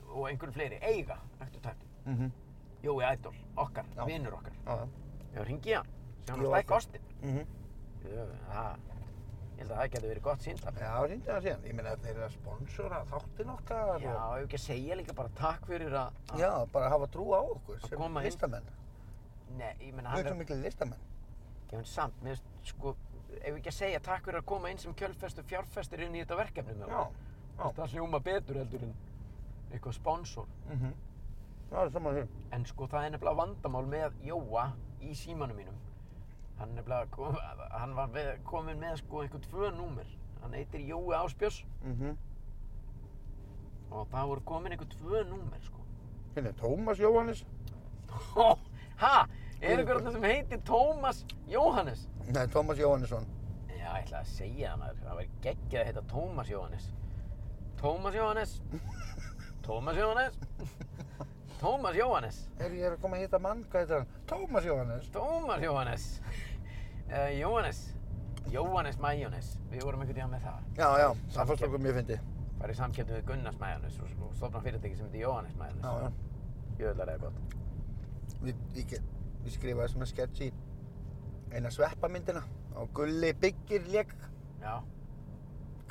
Speaker 1: og einhvern fleiri, eiga, eftir taktum.
Speaker 2: Mhm.
Speaker 1: Jói Ædol, okkar,
Speaker 2: Já.
Speaker 1: vinnur okkar.
Speaker 2: Já, já.
Speaker 1: Já, ringi hann, sjá hann
Speaker 2: Jó,
Speaker 1: að stækka
Speaker 2: Ædol.
Speaker 1: ostinn.
Speaker 2: Mhm.
Speaker 1: Jú, Það, ég held að það getur verið gott síndar.
Speaker 2: Já, hringdu hann síðan. Ég meina þeir eru að sponsora þáttinn okkar. og-
Speaker 1: Já, ef ekki að segja líka bara takk fyrir að... að-
Speaker 2: Já, bara hafa trú á okkur
Speaker 1: Að
Speaker 2: sem
Speaker 1: koma inn.
Speaker 2: listamenn.
Speaker 1: Nei, ég menna
Speaker 2: Við
Speaker 1: hann
Speaker 2: erum
Speaker 1: er,
Speaker 2: miklu listamenn.
Speaker 1: ég menn samt, mér finnst, sko, ef ekki að segja takk fyrir að koma inn sem kjölfestu fjárfestir inn í þetta verkefni með
Speaker 2: Já, já.
Speaker 1: Þetta hljóma betur heldur en eitthvað sponsor.
Speaker 2: Mhm. Já, saman hér.
Speaker 1: En sko það er nefnilega vandamál með Jóa í símanum mínum. Hann nefnilega, kom, hann var með, komin með sko einhver tvö númer. Hann heitir Jói Áspjós
Speaker 2: Mhm.
Speaker 1: og það voru komin einhver tvö númer sko.
Speaker 2: Hérna er Tómas Jóhannes.
Speaker 1: Hó, ha, er einhver þarna sem heitir Tómas Jóhannes?
Speaker 2: Nei, Tómas Jóhannesson.
Speaker 1: Já, ég ætla að segja það maður. Það væri geggjað að heita Tómas Jóhannes. Tómas Jóhannes. Tómas Jóhannes. Tómas Jóhannes.
Speaker 2: Er ég er að koma að hitta mann, hvað heitir hann? Tómas Jóhannes.
Speaker 1: Tómas Jóhannes uh, Jóhannes Jóhannes Mæjónes Við vorum einhvern tíðan með það
Speaker 2: Já, já, það fannst okkur mjög fyndi.
Speaker 1: Farið samkjöndum við Gunnars Mæjónes og, og stofna fyrirtæki sem heitir Jóhannes Mæjónes
Speaker 2: Já, já.
Speaker 1: Jöðlarlega gott
Speaker 2: Við, ég, get- ég skrifaði svona sketch í eina sveppamyndina á Gulli Byggir leik
Speaker 1: Já,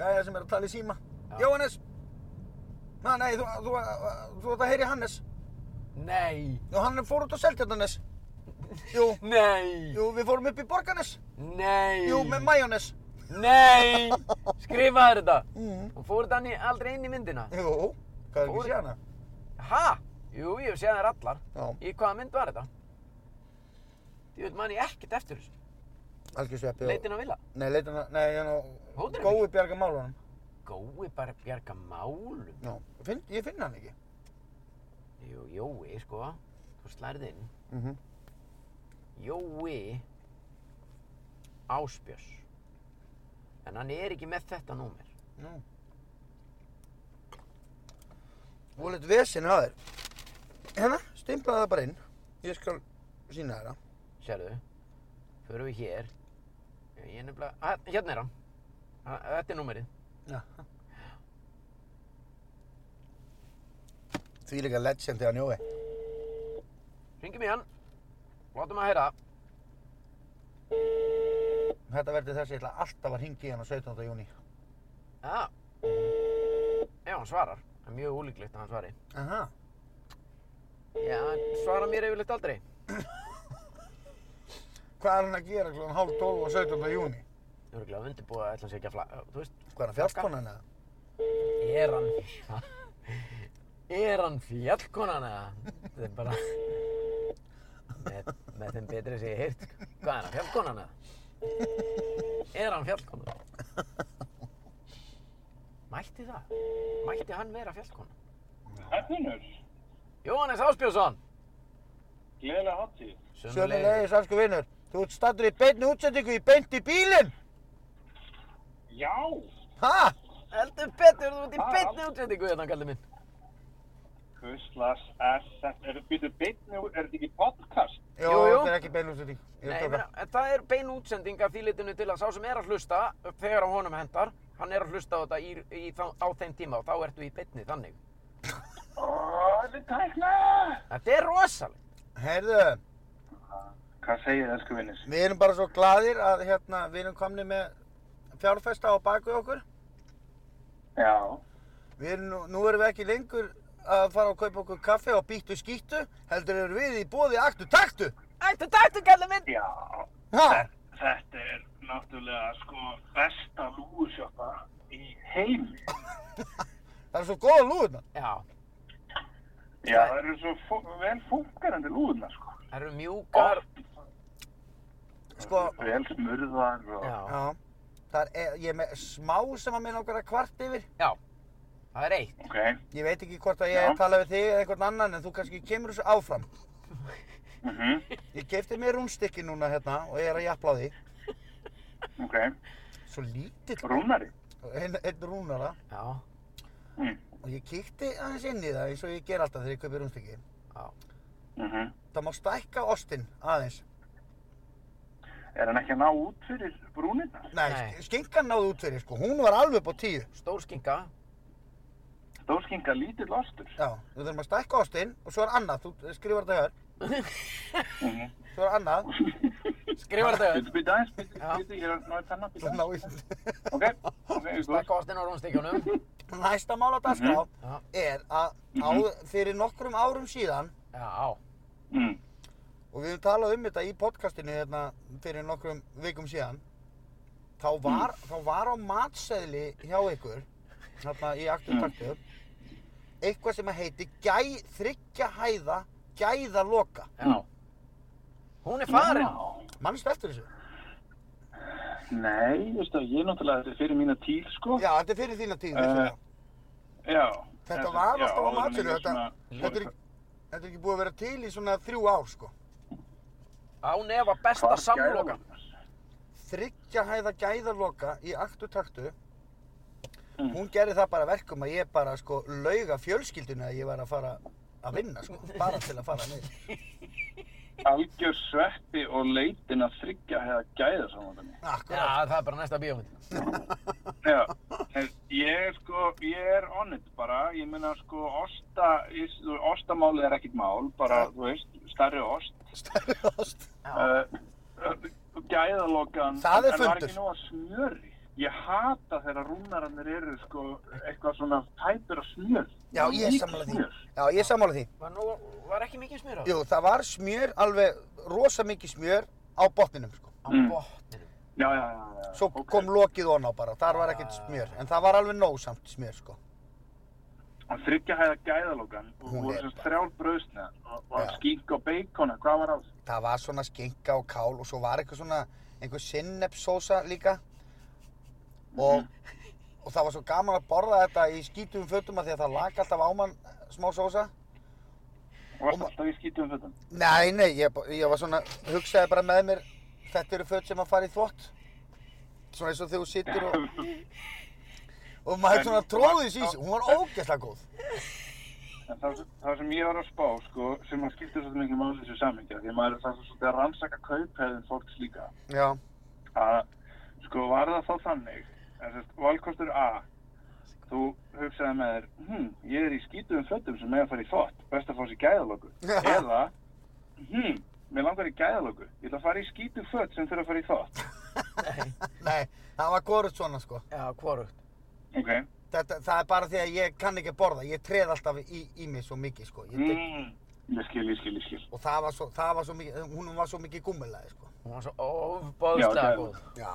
Speaker 2: gæja sem er að tala í síma.
Speaker 1: Já.
Speaker 2: Jóhannes! Na, nei, þú, þú, þú, þú ert að heyri Hannes.
Speaker 1: nei,
Speaker 2: Jú, hann fór út á Seltjarnanes.
Speaker 1: [laughs]
Speaker 2: Jú,
Speaker 1: nei,
Speaker 2: jú, við fórum upp í Borgarnes.
Speaker 1: nei
Speaker 2: Jú, með Majónes.
Speaker 1: Nei, skrifaðu þetta
Speaker 2: Mm.
Speaker 1: Og fór þetta ni- aldrei inn í myndina
Speaker 2: Jú, hvað er
Speaker 1: Fór-
Speaker 2: ekki séð hana?
Speaker 1: Ha, jú, ég sé þær allar
Speaker 2: Já.
Speaker 1: Í hvaða mynd var þetta? Ég veit manni ekkert eftir þessu
Speaker 2: Algjör sveppi og...
Speaker 1: Leitin á vila
Speaker 2: Nei, leitin að... Nei, hérna...
Speaker 1: Hótelið?
Speaker 2: Gói bjarga málunum.
Speaker 1: Gói bara bjarga málum
Speaker 2: Já. Finn, ég finn hann ekki.
Speaker 1: Jú, Jói, sko, þú slærði inn.
Speaker 2: Mm -hmm.
Speaker 1: Jói Áspjörs. En hann er ekki með þetta númer.
Speaker 2: Nú. Þú leitt vesinn að þér. Hérna, stimplaði það bara inn. Ég skal sína þér það.
Speaker 1: Sérðu, förum við hér. Ég er nefnilega, að, hérna er hann. Ah, Að, þetta er númerið.
Speaker 2: Já. Því líka legend þegar njói.
Speaker 1: Ringjum í hann. Látum að heyra.
Speaker 2: Þetta verður þess að ég ætla alltaf að ringi hann á 17. júni.
Speaker 1: Já. Já, hann svarar. Það er mjög úlíklegt að hann svari.
Speaker 2: Aha.
Speaker 1: Já, hann svarar mér yfirleitt aldrei.
Speaker 2: Hvað er hann að gera klokkan hálf 12 á 17. júni?
Speaker 1: Ég er ekki að undirbúa að ætla hann sé ekki að flagga. Þú veist,
Speaker 2: Hvað er hann fjárskonan eða?
Speaker 1: er hann... er hann fjallkonan eða? Þetta er bara... með, með þeim betri sem ég heirt. Hvað er hann fjallkonan eða? Er hann fjallkonan? Mætti það? Mætti hann vera fjallkonan?
Speaker 5: Hefninur,
Speaker 1: Jóhannes Áspjósson!
Speaker 5: gleðilega hátíð.
Speaker 2: Sömulegis, elsku vinnur. Þú ert stattur í beinni útsendingu í beint í bílinn.
Speaker 5: Já,
Speaker 2: Ha?
Speaker 1: Heldur betur, þú ert í
Speaker 5: Ah.
Speaker 1: beinni útsendingu hérna, kallið minn.
Speaker 5: hvurslags er þetta? Er þetta býtu beinni, er þetta ekki podcast?
Speaker 2: Jó,
Speaker 1: Jú, jú.
Speaker 2: þetta er ekki beinn útsending. Ég er
Speaker 1: Nei,
Speaker 2: að
Speaker 1: ég meina,
Speaker 2: djóka.
Speaker 1: en það er bein útsending af því litinu til að sá sem er að hlusta þegar á honum hendar, hann er að hlusta á þetta í, í, þá, á þeim tíma og þá ertu í beinni þannig.
Speaker 5: Ó, þetta er tækna!
Speaker 1: Þetta er rosalegt.
Speaker 2: Heyrðu,
Speaker 5: Hvað segir það, sko vinnir?
Speaker 2: við erum bara svo gladir að hérna, við erum komni með fjárfesta á baku okkur.
Speaker 5: Já,
Speaker 2: Við erum, nú- nú erum við ekki lengur að fara að kaupa okkur kaffe og býttu skýttu, heldur erum við í bóði aktu taktu.
Speaker 1: Ættu taktu, kallið minn!
Speaker 5: já,
Speaker 2: Ha?
Speaker 5: þetta er náttúrulega sko besta lúðsjöpa í heimi.
Speaker 2: Það er svo góða lúðna.
Speaker 1: Já,
Speaker 5: Já, það eru svo fó- vel funkarandi lúðna, sko.
Speaker 1: það eru mjúkar.
Speaker 2: Sko,
Speaker 5: Vel smurðar
Speaker 2: Oh,
Speaker 5: og...
Speaker 1: Já,
Speaker 2: já. Það er, e, ég er með smá sem að minna okkar að kvart yfir.
Speaker 1: já, það er eitt.
Speaker 5: Ok,
Speaker 2: Ég veit ekki hvort að ég er
Speaker 5: Já.
Speaker 2: að tala við þig eða einhvern annan en þú kannski kemur þessu áfram.
Speaker 5: mhm,
Speaker 2: Ég kefti mér rúnstykki núna hérna og ég er að japla á því.
Speaker 5: ok.
Speaker 2: Svo lítill,
Speaker 5: Rúnari?
Speaker 2: einn ein rúnara.
Speaker 1: Já,
Speaker 5: Mm,
Speaker 2: Og ég kíkti aðeins inn í það eins og ég ger alltaf þegar ég kaupi rúnstykki.
Speaker 1: já.
Speaker 5: mhm.
Speaker 2: Það má stækka ostinn aðeins.
Speaker 5: Er hann ekki að ná út fyrir brúnina?
Speaker 2: Nei,
Speaker 1: Nei.
Speaker 2: Nei. skinkan náði út fyrir sko. Hún var alveg upp á tíu.
Speaker 1: Stór skinka.
Speaker 5: Stórskinga lítill ostur.
Speaker 2: Já, við þurfum að stækka ostinn og svo er annað. Þú eh, skrifar þetta hér. Svo er annað.
Speaker 1: Skrifar þetta.
Speaker 5: Býttu, býttu aðeins, býttu,
Speaker 1: Já.
Speaker 5: býttu, ég er að ná að tanna, býttu
Speaker 2: Svo ná
Speaker 5: aðeins.
Speaker 2: í
Speaker 5: Ok, ok, góð.
Speaker 1: Stakka ostinn á rúnstíkjunum.
Speaker 2: [laughs] Næsta mál á dagskrá
Speaker 1: Já.
Speaker 2: er að á, fyrir nokkrum árum síðan
Speaker 1: Já,
Speaker 5: Mm,
Speaker 2: og við höfum talað um þetta í podcastinu hérna fyrir nokkrum vikum síðan þá
Speaker 5: Mm.
Speaker 2: var, þá var á matseðli hjá ykkur hérna í
Speaker 5: Mm.
Speaker 2: aktum taktu eitthvað sem að heiti gæ, þryggja hæða gæða loka
Speaker 1: já. Hún er farin.
Speaker 2: mannstu eftir þessu?
Speaker 5: Nei, þú veist að ég er náttúrulega þetta er fyrir mína tíl, sko.
Speaker 2: Já, þetta er fyrir þína tíð
Speaker 5: Eh,
Speaker 2: uh,
Speaker 5: Já.
Speaker 2: þetta var
Speaker 5: já,
Speaker 2: alltaf á
Speaker 5: áður en
Speaker 2: matseðli
Speaker 5: ég
Speaker 2: þetta,
Speaker 5: svona-
Speaker 2: þetta, er, ekki- þetta er ekki búið að vera til í svona þrjú ár sko
Speaker 1: Án efa
Speaker 5: Hvar
Speaker 1: besta
Speaker 5: gæða-
Speaker 1: samloka.
Speaker 2: þryggja hæða gæðaloka í aktu taktu hún gerði það bara að verkum að ég bara sko lauga fjölskyldinu að ég var að fara að vinna sko, bara til að fara niður
Speaker 5: Algjör sveppi og leitin að þryggja hefða gæða samvandani.
Speaker 1: Já,
Speaker 2: akkurat,
Speaker 1: það er bara næsta bíómynd.
Speaker 5: Já, en ég er sko, ég er on it bara, ég meina sko, osta, ég- þú- ostamálið er ekkit mál, bara, þú veist, stærri ost.
Speaker 2: stærri ást
Speaker 5: Uh, gæðalokan,
Speaker 2: Það er
Speaker 5: en var
Speaker 2: fundur.
Speaker 5: ekki nóg að smjöri. Ég hata þegar rúnarannir eru sko, eitthvað svona tæpur að smjör.
Speaker 2: já ég er
Speaker 5: Mikið
Speaker 2: sammála því
Speaker 5: smjör.
Speaker 2: já ég er sammála því,
Speaker 1: Var, nú, var ekki mikið smjör á?
Speaker 2: jú það var smjör alveg rosa mikið smjör á botninum sko
Speaker 1: Á
Speaker 5: Mm.
Speaker 1: botninum.
Speaker 5: Já, já, já, já.
Speaker 2: svo
Speaker 5: ok.
Speaker 2: kom lokið on á bara, þar var ekkert smjör en það var alveg nóg samt smjör sko
Speaker 5: Og þryggja hæða gæðalokan, og
Speaker 2: Hún
Speaker 5: voru
Speaker 2: er
Speaker 5: sem þrjál bröðsneðar, og, og
Speaker 2: Já.
Speaker 5: skink og beikona, hvað var á þessu?
Speaker 2: það var svona skinka og kál og svo var eitthvað svona einhver sinnepsósa líka
Speaker 5: Mhm.
Speaker 2: og, [laughs] og það var svo gaman að borða þetta í skítum fötum að því að það lak alltaf á mann eh, smá sósa
Speaker 5: Varst
Speaker 2: ma-
Speaker 5: alltaf í skítum fötum?
Speaker 2: nei nei ég, ba- ég var svona hugsaði bara með mér þetta eru föt sem að fara í þvott svona eins og þegar þú sittur
Speaker 5: [laughs]
Speaker 2: og, og maður
Speaker 5: En-
Speaker 2: svona tróði sísi hún var ógeðslega góð
Speaker 5: En það, það sem ég var að spá, sko, sem að skipta svolítið mikið máli í þessu samhengja, því að maður er það svolítið að rannsaka kaupheðin fólks líka,
Speaker 2: já
Speaker 5: að, sko, var það þá þannig, en sérst, valkostur A, þú hugsaði með þér, hm, ég er í skítuðum fötum sem með að fara í þvott, best að fá sér
Speaker 2: [laughs]
Speaker 5: gæðalöku. Eða, hm, mér langar í gæðalöku, ég ætla að fara í skítuð fött sem þurfa að fara í þvott.
Speaker 1: Nei,
Speaker 2: [laughs] Nei, það var góruð svona sko.
Speaker 1: já, hvorugt.
Speaker 5: Ok,
Speaker 2: Þetta, það er bara því að ég kann ekki að borða, ég treð alltaf í, í mig svo mikið sko. Ég, tek-
Speaker 5: mm, ég skil, ég skil, ég skil.
Speaker 2: Og það var svo, það var svo mikið, hún var svo mikið gummilaði sko.
Speaker 1: Hún var svo
Speaker 5: Já,
Speaker 1: ofbóðslega
Speaker 5: já.
Speaker 1: góð.
Speaker 2: Já.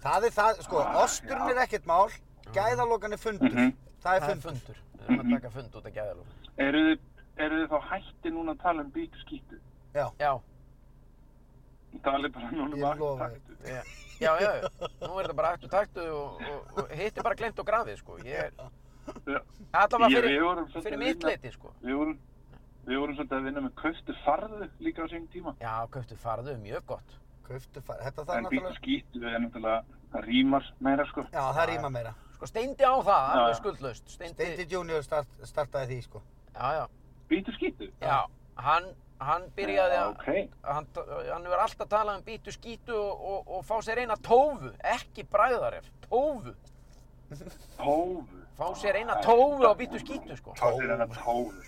Speaker 2: Það er það, sko,
Speaker 5: Ah,
Speaker 2: osturinn
Speaker 5: já.
Speaker 2: er ekkert mál, gæðalokan er fundur.
Speaker 5: Mhm.
Speaker 2: Mm. Það er
Speaker 1: Það er
Speaker 2: fundur.
Speaker 1: fundur. Við erum
Speaker 5: Mm-hmm.
Speaker 1: að taka fund út af gæðalóð.
Speaker 5: Eru þið, eru þið þá hætti núna að tala um býtu skítu?
Speaker 1: Já,
Speaker 5: Talið bara núna
Speaker 2: Ég
Speaker 5: um allt
Speaker 2: lofa
Speaker 5: taktu.
Speaker 1: já, já, já. Nú er þetta bara aftur taktu og, og, og hitt er bara glemt og grafið, sko. Ég er...
Speaker 5: Já.
Speaker 1: Allavega
Speaker 5: Ég-
Speaker 1: fyrir,
Speaker 5: við vorum svolítið
Speaker 1: fyrir
Speaker 5: að
Speaker 1: mitt
Speaker 5: vinna-
Speaker 1: leiti, sko.
Speaker 5: Við vorum, við vorum svolítið að vinna með kaustu farðu líka á sínum tíma.
Speaker 1: Já, köftu farðu, mjög gott.
Speaker 2: Kauftu fara, þetta það er
Speaker 5: en býtu
Speaker 2: náttúrulega,
Speaker 5: skítu er náttúrulega, það rýmar meira sko.
Speaker 2: já það rýma meira.
Speaker 1: Sko, steindi á það,
Speaker 5: Já,
Speaker 1: alveg
Speaker 5: já.
Speaker 1: skuldlaust. Steindi,
Speaker 2: Dendi Junior start, startaði því, sko.
Speaker 1: já, já.
Speaker 5: Býtu skítu?
Speaker 1: Já, hann, hann byrjaði að...
Speaker 5: Ok,
Speaker 1: hann, hann verður alltaf að tala um bítu skítu og, og, og fá sér eina tófu, ekki bræðaref, tófu.
Speaker 5: tófu.
Speaker 1: Fá sér eina tófu á bítu skítu, sko.
Speaker 5: Fá sér eina tófu.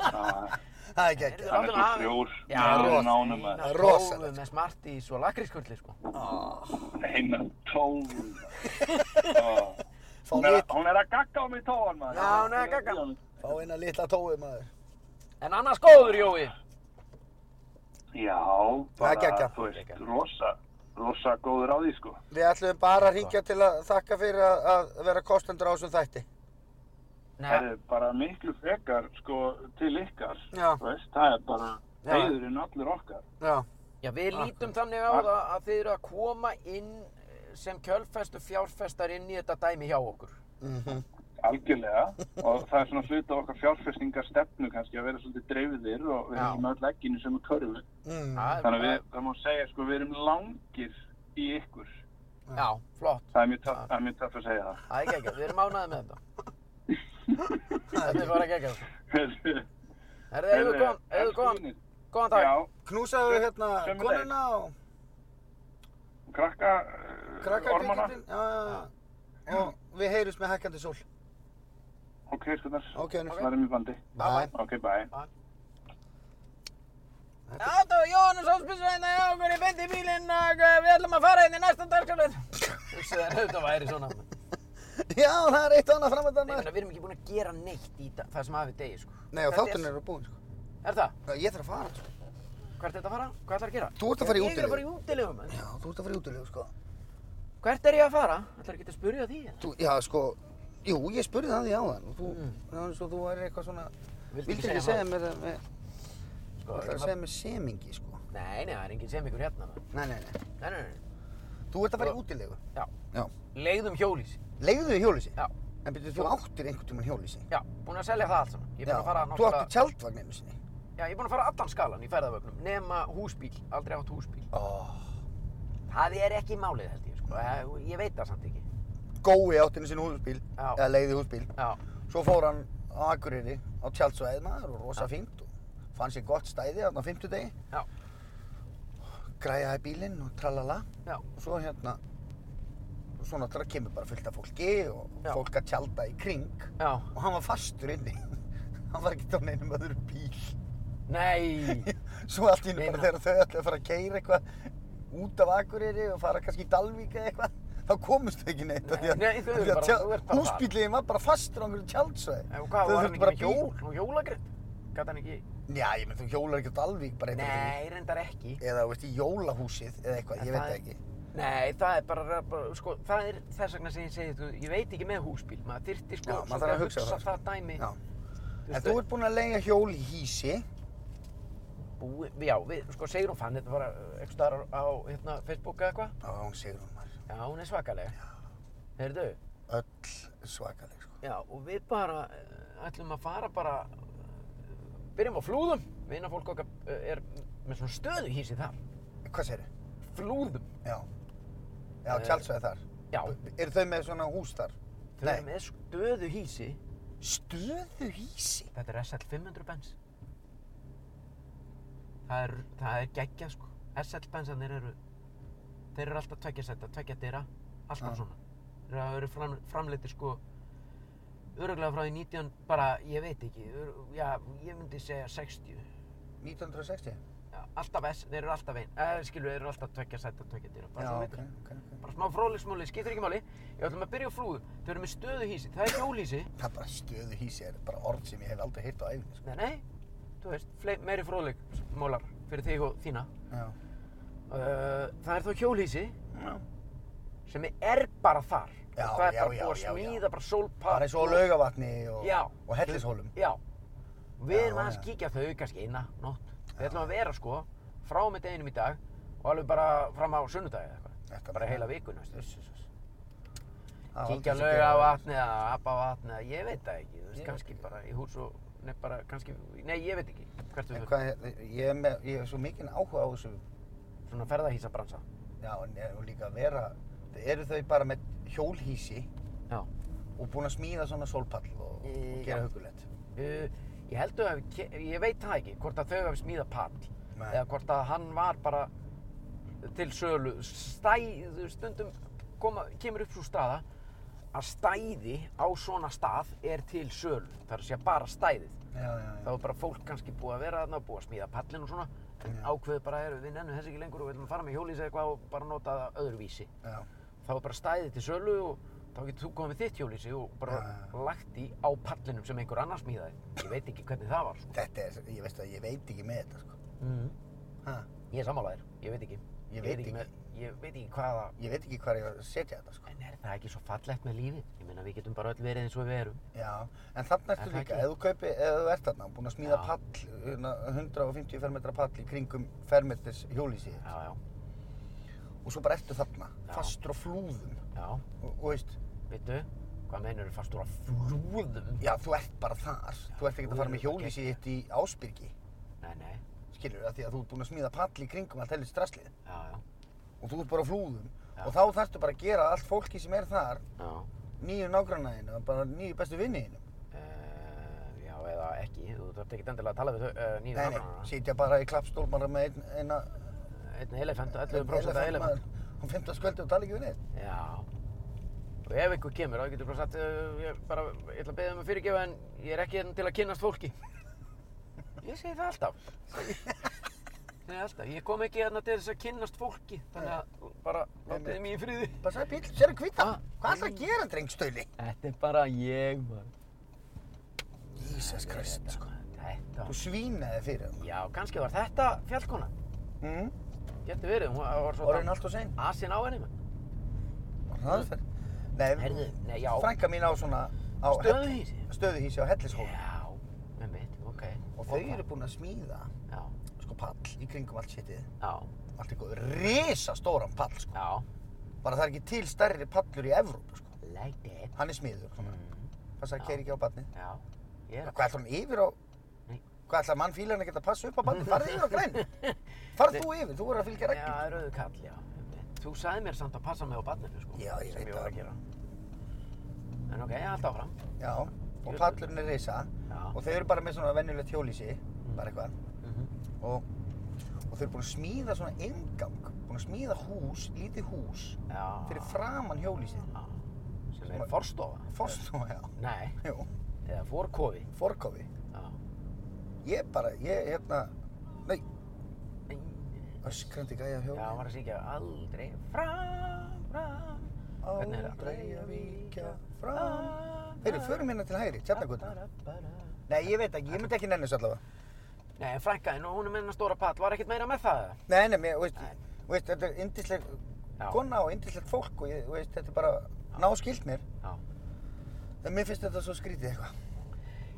Speaker 5: Ah,
Speaker 2: Það er ekki ekki.
Speaker 5: Hann er svo frjór.
Speaker 1: Já,
Speaker 5: Hann er
Speaker 2: rosa.
Speaker 5: nánum að
Speaker 1: eina
Speaker 2: Rosalegt,
Speaker 1: tófu með smartís og lakrískulli, sko.
Speaker 5: eina tófu. Ah,
Speaker 2: Fá,
Speaker 5: Hún er,
Speaker 2: lit,
Speaker 5: að- hún er að gagga á mig tóan maður.
Speaker 1: Já, hún er að gagga.
Speaker 2: fá eina litla tói, maður.
Speaker 1: En annars góður, Jói.
Speaker 5: Já,
Speaker 2: Það er geggjað.
Speaker 5: bara, þú veist, rosa, rosa góður á því sko.
Speaker 2: Við ætlum bara að ringja til að þakka fyrir að, að vera kostendur á þessum þætti.
Speaker 5: Það
Speaker 1: Nei,
Speaker 5: er bara miklu frekar sko til ykkar,
Speaker 2: Já.
Speaker 5: þú veist, það er bara
Speaker 1: Já.
Speaker 5: heiðurinn allur okkar.
Speaker 2: Já,
Speaker 1: já, við lítum þannig á það að þið eru að koma inn eh, sem kjölfestu fjárfestar inn í þetta dæmi hjá okkur.
Speaker 2: Mhm.
Speaker 5: Algjörlega og það er svona hluta af okkar fjárfestingar stefnu kannski að vera svolítið dreifðir og við
Speaker 1: Já.
Speaker 5: erum öll ekkinu sem er körfu.
Speaker 2: mm.
Speaker 1: Það er-
Speaker 5: Þannig að við, það má segja sko, við erum langir í ykkur.
Speaker 1: Já, flott.
Speaker 5: Það er mjög töff- það er mjög töff að segja það. [laughs]
Speaker 1: Það er geggjað, við erum ánæðið með þetta.
Speaker 2: [laughs]
Speaker 1: Þetta er bara geggjað.
Speaker 5: Heyrðu,
Speaker 1: Herðu, eigum við góðan- eigum við
Speaker 5: elsku
Speaker 1: góðan,
Speaker 5: vinir.
Speaker 1: góðan dag.
Speaker 5: Já,
Speaker 2: knúsaðu hérna
Speaker 5: Sömuleiðis.
Speaker 2: konuna og
Speaker 5: krakka, krakka ormana.
Speaker 2: krakkakvíkildin. Já, já, já. Og við heyrjumst með hækkandi sól.
Speaker 5: Ok, sko, skoðar.
Speaker 2: Ok, Unnur.
Speaker 5: Það er mjög bandi.
Speaker 2: Bye.
Speaker 5: Ok, bye.
Speaker 1: Já, það var Jóhannes Áspilsveina hjá okkur í bendi bílinn og eh, við ætlum að fara inn í næsta
Speaker 2: [laughs]
Speaker 1: dagskalveit. Hugsaðu þér auðvitað væri svona. Ég
Speaker 2: Já, það er eitt og annað framöndan, maður.
Speaker 1: meina, við erum ekki búin að gera neitt í da- það sem hafi degi, sko.
Speaker 2: Nei, og
Speaker 1: Þetta
Speaker 2: þátturinn eru búin, sko.
Speaker 1: Er það?
Speaker 2: Já, Ég þarf að fara, sko.
Speaker 1: Hvert er þetta að fara? Hvað ætlar að gera?
Speaker 2: Þú ert að fara í
Speaker 1: Ég er
Speaker 2: útilegu.
Speaker 1: að fara í útilegu, menn.
Speaker 2: Já, þú ert að fara í útilegu, sko.
Speaker 1: Hvert er ég að fara? Ætlar ekki að spyrja því? eða?
Speaker 2: Þú, já, sko, jú, ég spurði það því áðan og þú, það var eins og þú væri eitthvað svona, vildi ekki segja
Speaker 1: það?
Speaker 2: mér það með,
Speaker 1: Sko, ekki
Speaker 2: ætlar að
Speaker 1: bara-
Speaker 2: segja mér semingi, sko.
Speaker 1: Nei, nei, það er enginn sem ykkur hérna. maður.
Speaker 2: Nei, nei, nei.
Speaker 1: Nei, nei, nei.
Speaker 2: Þú ert að fara í
Speaker 1: Og-
Speaker 2: útilegu.
Speaker 1: Já.
Speaker 2: Já.
Speaker 1: Leigðum hjólís.
Speaker 2: Leigðu þið hjólísi?
Speaker 1: Já.
Speaker 2: En byrju, þú áttir einhvern tímann hjólísi?
Speaker 1: Já, búin að selja það allt saman. Ég er búin að fara
Speaker 2: Þú
Speaker 1: náttúrulega...
Speaker 2: áttir tjaldvagn einu sinni?
Speaker 1: Já, ég er búin að fara allan skalan í ferðavögnum, nema húsbíl, aldrei átt húsbíl.
Speaker 2: Oh.
Speaker 1: Það er ekki málið held ég, sko. Eh, Ég veit það samt ekki.
Speaker 2: Gói átti einu sinni húsbíl,
Speaker 1: Já.
Speaker 2: eða leigði húsbíl.
Speaker 1: Já,
Speaker 2: Svo fór hann á Akureyri á tjaldsvæðið maður og rosa fínt og fann sér gott stæði þarna á fimmtudegi.
Speaker 1: Já.
Speaker 2: Græjaði bílinn og tralala.
Speaker 1: já,
Speaker 2: og svo hérna og svo náttúrulega kemur bara fullt af fólki og
Speaker 1: Já.
Speaker 2: fólk að tjálta í kring
Speaker 1: já.
Speaker 2: og hann var fastur inni [laughs] hann var ekki á neinum öðru bíl [laughs]
Speaker 1: Nei! Eh,
Speaker 2: svo allt í einu
Speaker 1: Einar.
Speaker 2: bara þegar þau ætlaði að fara að keira eitthvað út af Akureyri og fara kannski í Dalvík eða eitthvað þá komust þau ekki neitt af því að-
Speaker 1: Nei, þau eru
Speaker 2: af því að
Speaker 1: bara-
Speaker 2: tjald-
Speaker 1: þú ert bara þar.
Speaker 2: húsbíllinn var bara fastur á einhverju tjaldsvæði
Speaker 1: En hvað, var hann
Speaker 2: þurftu
Speaker 1: ekki með
Speaker 2: bara að bíða.
Speaker 1: hjól? Nú jólagrind? Gat hann ekki?
Speaker 2: já ég menn þú hjólar ekki á Dalvík bara eitthvað
Speaker 1: Nei, reyndar ekki.
Speaker 2: eða þú veist í jólahúsið eða eitthvað
Speaker 1: En
Speaker 2: ég veit
Speaker 1: það
Speaker 2: það
Speaker 1: er-
Speaker 2: ekki
Speaker 1: Nei, það er bara, bara sko, það er þess vegna sem ég segi, þú, ég veit ekki með húsbíl, maður þyrfti sko,
Speaker 2: Já, maður
Speaker 1: svolítið
Speaker 2: þarf að hugsa það, sko.
Speaker 1: það dæmi.
Speaker 2: Já.
Speaker 1: Þú
Speaker 2: en
Speaker 1: veist,
Speaker 2: þú ert búinn að leiga hjól í hísi
Speaker 1: búi, já, við, sko, Sigrun fann þetta bara eh, einhvers staðar á, á hérna, Facebook eða eitthvað.
Speaker 2: á hún sigur hún maður
Speaker 1: Já, hún er svakalega. Heyrðu,
Speaker 2: öll svakaleg sko.
Speaker 1: já, og við bara eh, ætlum að fara bara, eh, byrjum á flúðum. Vinafólk okkar eh, er með svona stöðuhísi þar.
Speaker 2: Hvað segir
Speaker 1: flúðum.
Speaker 2: Já. Já,
Speaker 1: Eh,
Speaker 2: tjálsveið þar.
Speaker 1: Já,
Speaker 2: Eru þau með svona hús þar?
Speaker 1: þau eru með stöðu hísi.
Speaker 2: Stöðu hísi?
Speaker 1: Þetta er SL 500 bens. Það er, það er geggja sko. SL bensanir eru, þeir eru alltaf tveggja setta, tveggja dyra, alltaf
Speaker 2: Já.
Speaker 1: svona. Þeir eru fram, framleiti sko öruglega frá því 19, bara, ég veit ekki, ör, já, ég myndi segja 60.
Speaker 2: 1960?
Speaker 1: Já, alltaf S, þeir eru alltaf einn, eh, skilu, þeir eru alltaf tvekja sæta, tvekja dýra, bara
Speaker 2: Já,
Speaker 1: svo
Speaker 2: ok,
Speaker 1: veitir.
Speaker 2: ok, ok.
Speaker 1: Bara smá fróðleiksmáli, skiptir ekki máli. Ég ætlum að byrja á flúðu, þau eru með stöðuhísi, það er hjólhísi.
Speaker 2: Það er bara stöðu hísi, er bara orð sem ég hef aldrei heyrt á æfinni, sko.
Speaker 1: Nei, nei, þú veist, fle- meiri fróðleiksmólar fyrir þig og þína.
Speaker 2: Já.
Speaker 1: Uh, það er þá hjólhísi
Speaker 2: Já.
Speaker 1: sem er bara þar.
Speaker 2: Já,
Speaker 1: það er
Speaker 2: já,
Speaker 1: bara
Speaker 2: já,
Speaker 1: búið að
Speaker 2: já, já.
Speaker 1: smíða, bara sólpall.
Speaker 2: Bara eins og á laugavatni og,
Speaker 1: Já.
Speaker 2: og hellishólum.
Speaker 1: Já, við
Speaker 2: Já,
Speaker 1: erum aðeins
Speaker 2: já.
Speaker 1: að kíkja á þau kannski eina nótt. Við ætlum að vera sko frá með deginum í dag og alveg bara fram á sunnudagi eða eitthvað.
Speaker 2: Þetta
Speaker 1: Bara heila viku næstu.
Speaker 2: Uss, uss, uss.
Speaker 1: Kíkja á lauga vatni eða apa vatni eða ég veit það ekki. Þú veist,
Speaker 2: Ég veit
Speaker 1: kannski bara í hús og, nei bara kannski, nei ég veit ekki hvert við
Speaker 2: En
Speaker 1: fyrir.
Speaker 2: hvað, er- ég er með, ég er svo mikinn áhuga á þessu,
Speaker 1: Svona ferðahísabransa.
Speaker 2: já, en ég- og líka að vera, eru þau bara með hjólhísi
Speaker 1: Já.
Speaker 2: og búin að smíða svona sólpall og, og
Speaker 1: Í-
Speaker 2: gera
Speaker 1: já.
Speaker 2: hugulegt?
Speaker 1: Uh, ég held þau hafi, ke- ég veit það ekki, hvort að þau hafi smíða pall.
Speaker 2: Nei.
Speaker 1: Eða hvort að hann var bara til sölu, stæð, þú veist, stundum koma, kemur upp svo staða að stæði á svona stað er til sölu, það er að segja bara stæðið.
Speaker 2: Já, já, já.
Speaker 1: Þá er bara fólk kannski búið að vera þarna, búið að smíða pallin og svona, en ákveðu bara er við nennum þess ekki lengur og við ætlum að fara með hjólís eða eitthvað og bara nota það öðruvísi.
Speaker 2: já.
Speaker 1: Þá er bara stæðið til sölu og þá getur þú komið með þitt hjólísi og bara
Speaker 2: Já,
Speaker 1: lagt í á pallinum sem einhver annar smíðaði. Ég veit ekki hvernig það var, sko.
Speaker 2: Þetta er, ég veist að ég veit ekki með þetta, sko.
Speaker 1: Mm.
Speaker 2: Ha?
Speaker 1: Ég er sammálaðir, ég veit ekki.
Speaker 2: Ég veit ekki.
Speaker 1: Með, ég veit ekki hvaða...
Speaker 2: Ég veit ekki hvað ég var að setja þetta, sko.
Speaker 1: En er það ekki svo fallegt með lífið? Ég meina við getum bara öll verið eins og við erum.
Speaker 2: Já, en þarna
Speaker 1: Er
Speaker 2: ertu
Speaker 1: það
Speaker 2: líka,
Speaker 1: ekki?
Speaker 2: ef þú kaupi, ef þú ert þarna, búin að smíða
Speaker 1: Já.
Speaker 2: pall, hérna, 150 fermetra pall í kringum fermetris hjólísi þitt
Speaker 1: Já, já,
Speaker 2: og svo bara ertu þarna,
Speaker 1: Já.
Speaker 2: fastur á flúðum
Speaker 1: já.
Speaker 2: og, og veist,
Speaker 1: Vittu, hvað meinur þú fastur á flúðum?
Speaker 2: já, þú ert bara þar, þú ert ekkert að fara með
Speaker 1: flúðum,
Speaker 2: hjólísi þitt í Ásbyrgi,
Speaker 1: Nei, nei,
Speaker 2: skilur af því að þú ert búin að smíða pall í kringum allt helvist straslið
Speaker 1: já, já,
Speaker 2: og þú ert bara á flúðum
Speaker 1: Já.
Speaker 2: og þá þarftu bara að gera allt fólki sem er þar,
Speaker 1: já.
Speaker 2: nýju nágrannaðinu, bara nýju bestu vinniðinu.
Speaker 1: Uh, já, eða ekki, þú þarft ekki endilega að tala við þau, uh, nýju
Speaker 2: Nei, nei, sitja bara í klappstól bara með einn, eina,
Speaker 1: Einn elefant, 11% af elefant.
Speaker 2: maður, hún 15 skvöldi og tala ekki við neitt.
Speaker 1: Já. Og ef einhver kemur, þá getur bara sagt, uh, ég, bara, ég ætla að beða um að fyrirgefa en ég er ekki hérna til að kynnast
Speaker 2: [laughs]
Speaker 1: fólki. Ég segi það alltaf. Nei, alltaf. Ég kom ekki hérna til þess að kynnast fólki, þannig að bara
Speaker 2: Einmitt.
Speaker 1: látið mig í friði.
Speaker 2: Bara sagði bíl, sér að hvita.
Speaker 1: Ah.
Speaker 2: Hvað ætlar að gera, drengstöli?
Speaker 1: Þetta er bara ég, maður.
Speaker 2: Jesus Christ, sko.
Speaker 1: Þetta.
Speaker 2: Þú svínaði fyrir hann.
Speaker 1: Já, kannski var þetta fjallkona.
Speaker 2: Mm.
Speaker 1: Hmm? Getur verið, hún var- var svo...
Speaker 2: Orðin allt og sein.
Speaker 1: Asin á henni, maður.
Speaker 2: Hraðferð. Nei,
Speaker 1: Herðu, nei, já.
Speaker 2: frænka mín á svona... Á
Speaker 1: Stöðuhýsi.
Speaker 2: hell- Stöðuhýsi á Hellishólum.
Speaker 1: Já, með mitt, ok.
Speaker 2: Og þau eru búin að smíða,
Speaker 1: Já,
Speaker 2: sko, pall í kringum allt sétið.
Speaker 1: já,
Speaker 2: Allt eitthvað risastóran pall, sko.
Speaker 1: já.
Speaker 2: Bara það er ekki til stærri pallur í Evrópu, sko.
Speaker 1: Like that.
Speaker 2: Hann er smiður, svona.
Speaker 1: Mm.
Speaker 2: Passa að
Speaker 1: Já.
Speaker 2: keira ekki á barnið.
Speaker 1: Já, ég er
Speaker 2: Hvað ætlar hann yfir á...
Speaker 1: Nei. Mm.
Speaker 2: Hvað ætlar mann fílan að geta að passa upp á barnið? Farðu yfir á
Speaker 1: [laughs]
Speaker 2: græn. Farð þú yfir, þú voru að fylgja reglum.
Speaker 1: Já, það er auðu kall, já. einmitt. Þú sagði mér samt að passa mig á barninu, sko.
Speaker 2: Já, ég
Speaker 1: sem
Speaker 2: veit
Speaker 1: ég var
Speaker 2: það.
Speaker 1: að gera. En ok, ég haldi áfram.
Speaker 2: Já, og pallurinn er risa
Speaker 1: Já.
Speaker 2: og þau eru bara með svona venjulegt hjólísi, bara eitthvað
Speaker 1: Mm -hmm.
Speaker 2: og, og þau eru búin að smíða svona inngang, búin að smíða hús, lítið hús
Speaker 1: Já.
Speaker 2: fyrir framann hjólísið
Speaker 1: Já. Sem er forstofa.
Speaker 2: Forstofa, já,
Speaker 1: Nei,
Speaker 2: jú,
Speaker 1: eða forkofi.
Speaker 2: forkofi
Speaker 1: Já.
Speaker 2: Ég bara, ég hérna, nei,
Speaker 1: Nei,
Speaker 2: öskrandi gæja
Speaker 1: Já, hann var
Speaker 2: hjóli
Speaker 1: að syngja aldrei fram, fram. Hvernig er það?
Speaker 2: Aldrei að víkja fram Heyrðu, förum hérna til hægri, tjarnagutna
Speaker 1: Ba-ba-ba-ba.
Speaker 2: Nei, ég veit ekki, ég myndi ekki nenni þessu allavega
Speaker 1: Nei, en frænkaðin og hún er með hennar stóra pall, var ekkert meira með það? eða?
Speaker 2: Nei, nei, mér, veist,
Speaker 1: Nei.
Speaker 2: veist, þetta er indisleg
Speaker 1: Já.
Speaker 2: kona og indislegt fólk og ég, veist, þetta er bara náskilt mér.
Speaker 1: Já.
Speaker 2: En mér finnst þetta svo skrítið eitthvað.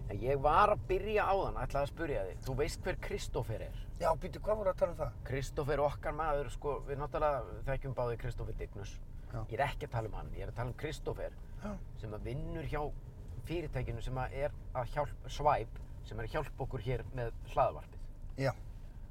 Speaker 1: En ég var að byrja á þann, ætlaði að spyrja þig. Þú veist hver Kristófer er?
Speaker 2: Já, býtu, hvað voru að tala um það?
Speaker 1: Kristófer okkar maður, sko, við náttúrulega þekkjum báði Kristófer Dignus.
Speaker 2: Já.
Speaker 1: Ég er ekki að tala um hann, ég er að tala um Kristófer
Speaker 2: Já.
Speaker 1: sem að vinnur hjá fyrirtækinu sem að er að hjálp, Svæp, sem er að hjálpa okkur hér með hlaðvarpið.
Speaker 2: Já,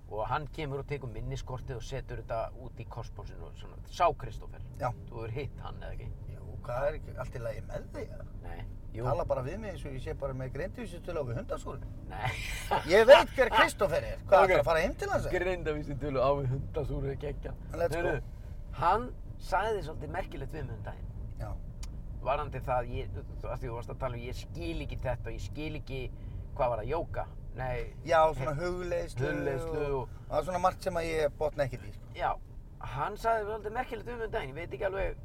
Speaker 1: Og hann kemur og tekur minniskortið og setur þetta út í kosmosinu og svona. Sá Kristófer.
Speaker 2: Já.
Speaker 1: Þú hefur hitt hann eða ekki?
Speaker 2: jú, hvað er ekki allt í lagi með þig? eða?
Speaker 1: Nei. Jú.
Speaker 2: Tala bara við mig eins og ég sé bara með greindivísutölu á við hundasúrinu.
Speaker 1: Nei. [laughs]
Speaker 2: Ég veit hver Kristófer er.
Speaker 1: Ok.
Speaker 2: Hvað, okay. ætlar að fara heim til hans? eða?
Speaker 1: Grindavísi tölu á við hundasúrið geggja.
Speaker 2: Let's go.
Speaker 1: Hann sagði svolítið merkilegt við mig um daginn.
Speaker 2: Já,
Speaker 1: varandi það, ég, að því þú varst að tala um, ég skil ekki þetta, ég skil ekki, hvað var það, jóka? Nei,
Speaker 2: Já, svona hugleiðslu
Speaker 1: Hugleiðslu og-
Speaker 2: og það er svona margt sem að ég botna ekkert í sko.
Speaker 1: já, hann sagði vel þetta merkilegt um um daginn, ég veit ekki alveg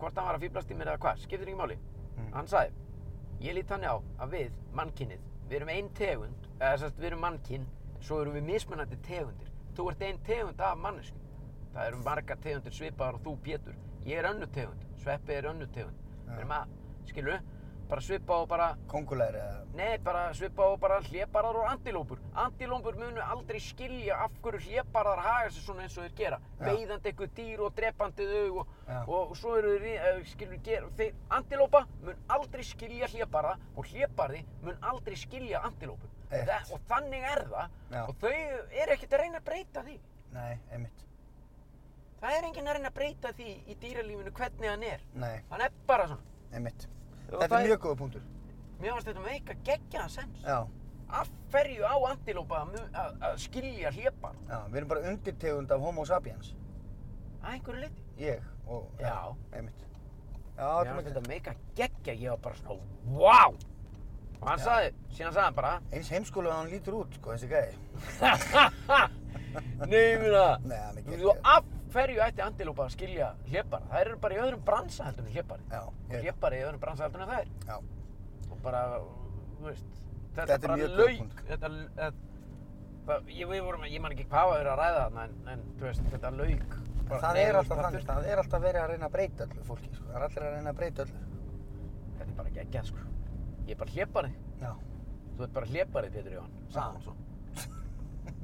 Speaker 1: hvort hann var að fýblast í mér eða hvað, skiptir ekki máli.
Speaker 2: Mm.
Speaker 1: Hann sagði, ég lít hann á að við, mannkinnið, við erum ein tegund, eða sérst við erum mannkinn, svo erum við mismunandi tegundir. Þú ert ein tegund af mannesku. Það eru margar tegundir svipaðar og þú Pétur. Ég er önnu tegund, Sveppi er önnu tegund.
Speaker 2: Já.
Speaker 1: Við erum að, skilur bara svipa og bara
Speaker 2: Kóngulegri eða
Speaker 1: Nei, bara svipa og bara hlébarðar og antilópur. Antilópur munu aldrei skilja af hverju hlébarðar haga sig svona eins og þeir gera.
Speaker 2: Já.
Speaker 1: Veiðandi ykkur dýr og drepandi þau og,
Speaker 2: Já.
Speaker 1: og svo eru þeir, í- eh, skilur, gera, þeir, antilópa mun aldrei skilja hlébarða og hlébarði mun aldrei skilja antilópur.
Speaker 2: Eitt.
Speaker 1: Þa- Og þannig er það
Speaker 2: Já.
Speaker 1: og þau eru ekkert að reyna að breyta því.
Speaker 2: Nei, einmitt
Speaker 1: Það er enginn að reyna að breyta því í dýralífinu hvernig hann er.
Speaker 2: Nei,
Speaker 1: Hann er bara svona.
Speaker 2: einmitt
Speaker 1: Og
Speaker 2: Þetta
Speaker 1: það
Speaker 2: er
Speaker 1: er-
Speaker 2: mjög góða punktur
Speaker 1: Mér fannst þetta meika geggjaðan sens.
Speaker 2: Já,
Speaker 1: Af hverju á antilópa að mu- að að skilja hlébarða?
Speaker 2: já, við erum bara undirtegund af homo sapiens
Speaker 1: að einhverju liti.
Speaker 2: Ég og
Speaker 1: Já.
Speaker 2: Einmitt Já, þetta
Speaker 1: Mér
Speaker 2: er mjög
Speaker 1: fannst
Speaker 2: gæta
Speaker 1: þetta meika geggja, ég var bara svona, wow! Og hann
Speaker 2: Já.
Speaker 1: sagði, síðan sagði hann bara, [laughs]
Speaker 2: Eins heimskóla hann lítur út, sko, þessi gæði
Speaker 1: ha ha ha, neymina!
Speaker 2: Nei, hann er
Speaker 1: Þú
Speaker 2: geggjað.
Speaker 1: af hverju ætti andilópa að skilja hlepar? Það eru bara í öðrum bransa heldur en hlepari.
Speaker 2: Já, ég,
Speaker 1: Hlepari í öðrum bransa heldur en það er.
Speaker 2: já,
Speaker 1: Og bara, þú veist, þetta,
Speaker 2: Þetta er
Speaker 1: bara
Speaker 2: mjög góð
Speaker 1: lauk.
Speaker 2: punktur.
Speaker 1: Þetta, þetta, það, ég, við vorum, ég man ekki hvað var verið að ræða þarna, en, en þú veist, þetta lauk.
Speaker 2: En það er alltaf þannig, það er alltaf verið að reyna að breyta öllu fólki, sko. það er allir að reyna að breyta öllu.
Speaker 1: Þetta er bara geggjað, sko. Ég er bara hlepari.
Speaker 2: Já, sko.
Speaker 1: Þú ert bara hleparið, Pétur Jóhann,
Speaker 2: Ah.
Speaker 1: sagði hann svo.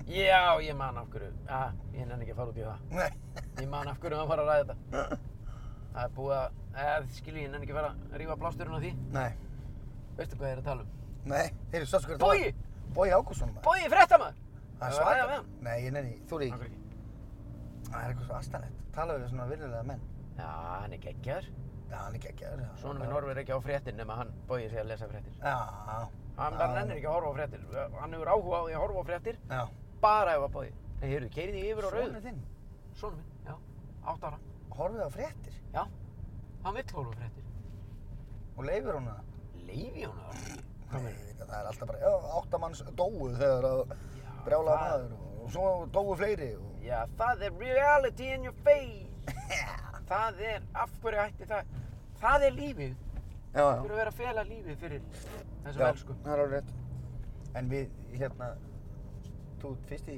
Speaker 1: Já, ég man af hverju. Ja, ég nenni ekki að fara út í það.
Speaker 2: [laughs] nei, [laughs]
Speaker 1: Ég man af hverju hann var að ræða þetta. Það er búið að, eða þið skilji, ég nenni ekki að fara að rífa blásturinn á því.
Speaker 2: nei,
Speaker 1: Veistu hvað ég er að tala um?
Speaker 2: nei, heyrðu, sástu hvernig
Speaker 1: Bogi!
Speaker 2: Bói Ágússon maður.
Speaker 1: Bói, fréttamaður!
Speaker 2: Það er
Speaker 1: Hefur ræðað
Speaker 2: svaka.
Speaker 1: við hann?
Speaker 2: Nei, ég nefnir, þú er
Speaker 1: Af
Speaker 2: ekki.
Speaker 1: hverju ekki?
Speaker 2: Það er eitthvað svo astanett. Tala við svona virðulega menn.
Speaker 1: Já, hann er geggjar.
Speaker 2: Já, hann er geggjaður. já.
Speaker 1: Svona minn horfir ekki á fréttin nema hann bóið sig að lesa fréttir.
Speaker 2: Já,
Speaker 1: Hann
Speaker 2: Já.
Speaker 1: bara nennir ekki að horfa á fréttir. Hann hefur áhuga á því að horfa á fréttir,
Speaker 2: já.
Speaker 1: bara ef að bóið. Nei, heyrðu, keyrið þig yfir á
Speaker 2: Svona
Speaker 1: rauðu.
Speaker 2: þinn.
Speaker 1: Svona minn, já. Átt ára.
Speaker 2: Horfið á fréttir
Speaker 1: Já. Hann vill horfa á fréttir.
Speaker 2: og leifir hún það.
Speaker 1: Leifi hún það ekki?
Speaker 2: Nei, það er alltaf bara, já, áttamanns dóu þegar að brjála
Speaker 1: það-
Speaker 2: maður og- og svo dóu fleiri. Og...
Speaker 1: Já, það er reality in your
Speaker 2: [laughs]
Speaker 1: face. það er, af hverju ætti það? Það er lífið.
Speaker 2: Já,
Speaker 1: Það er að vera að fela lífið fyrir þessum
Speaker 2: Já,
Speaker 1: elsku.
Speaker 2: það er alveg rétt. En við, hérna, þú ert fyrst í,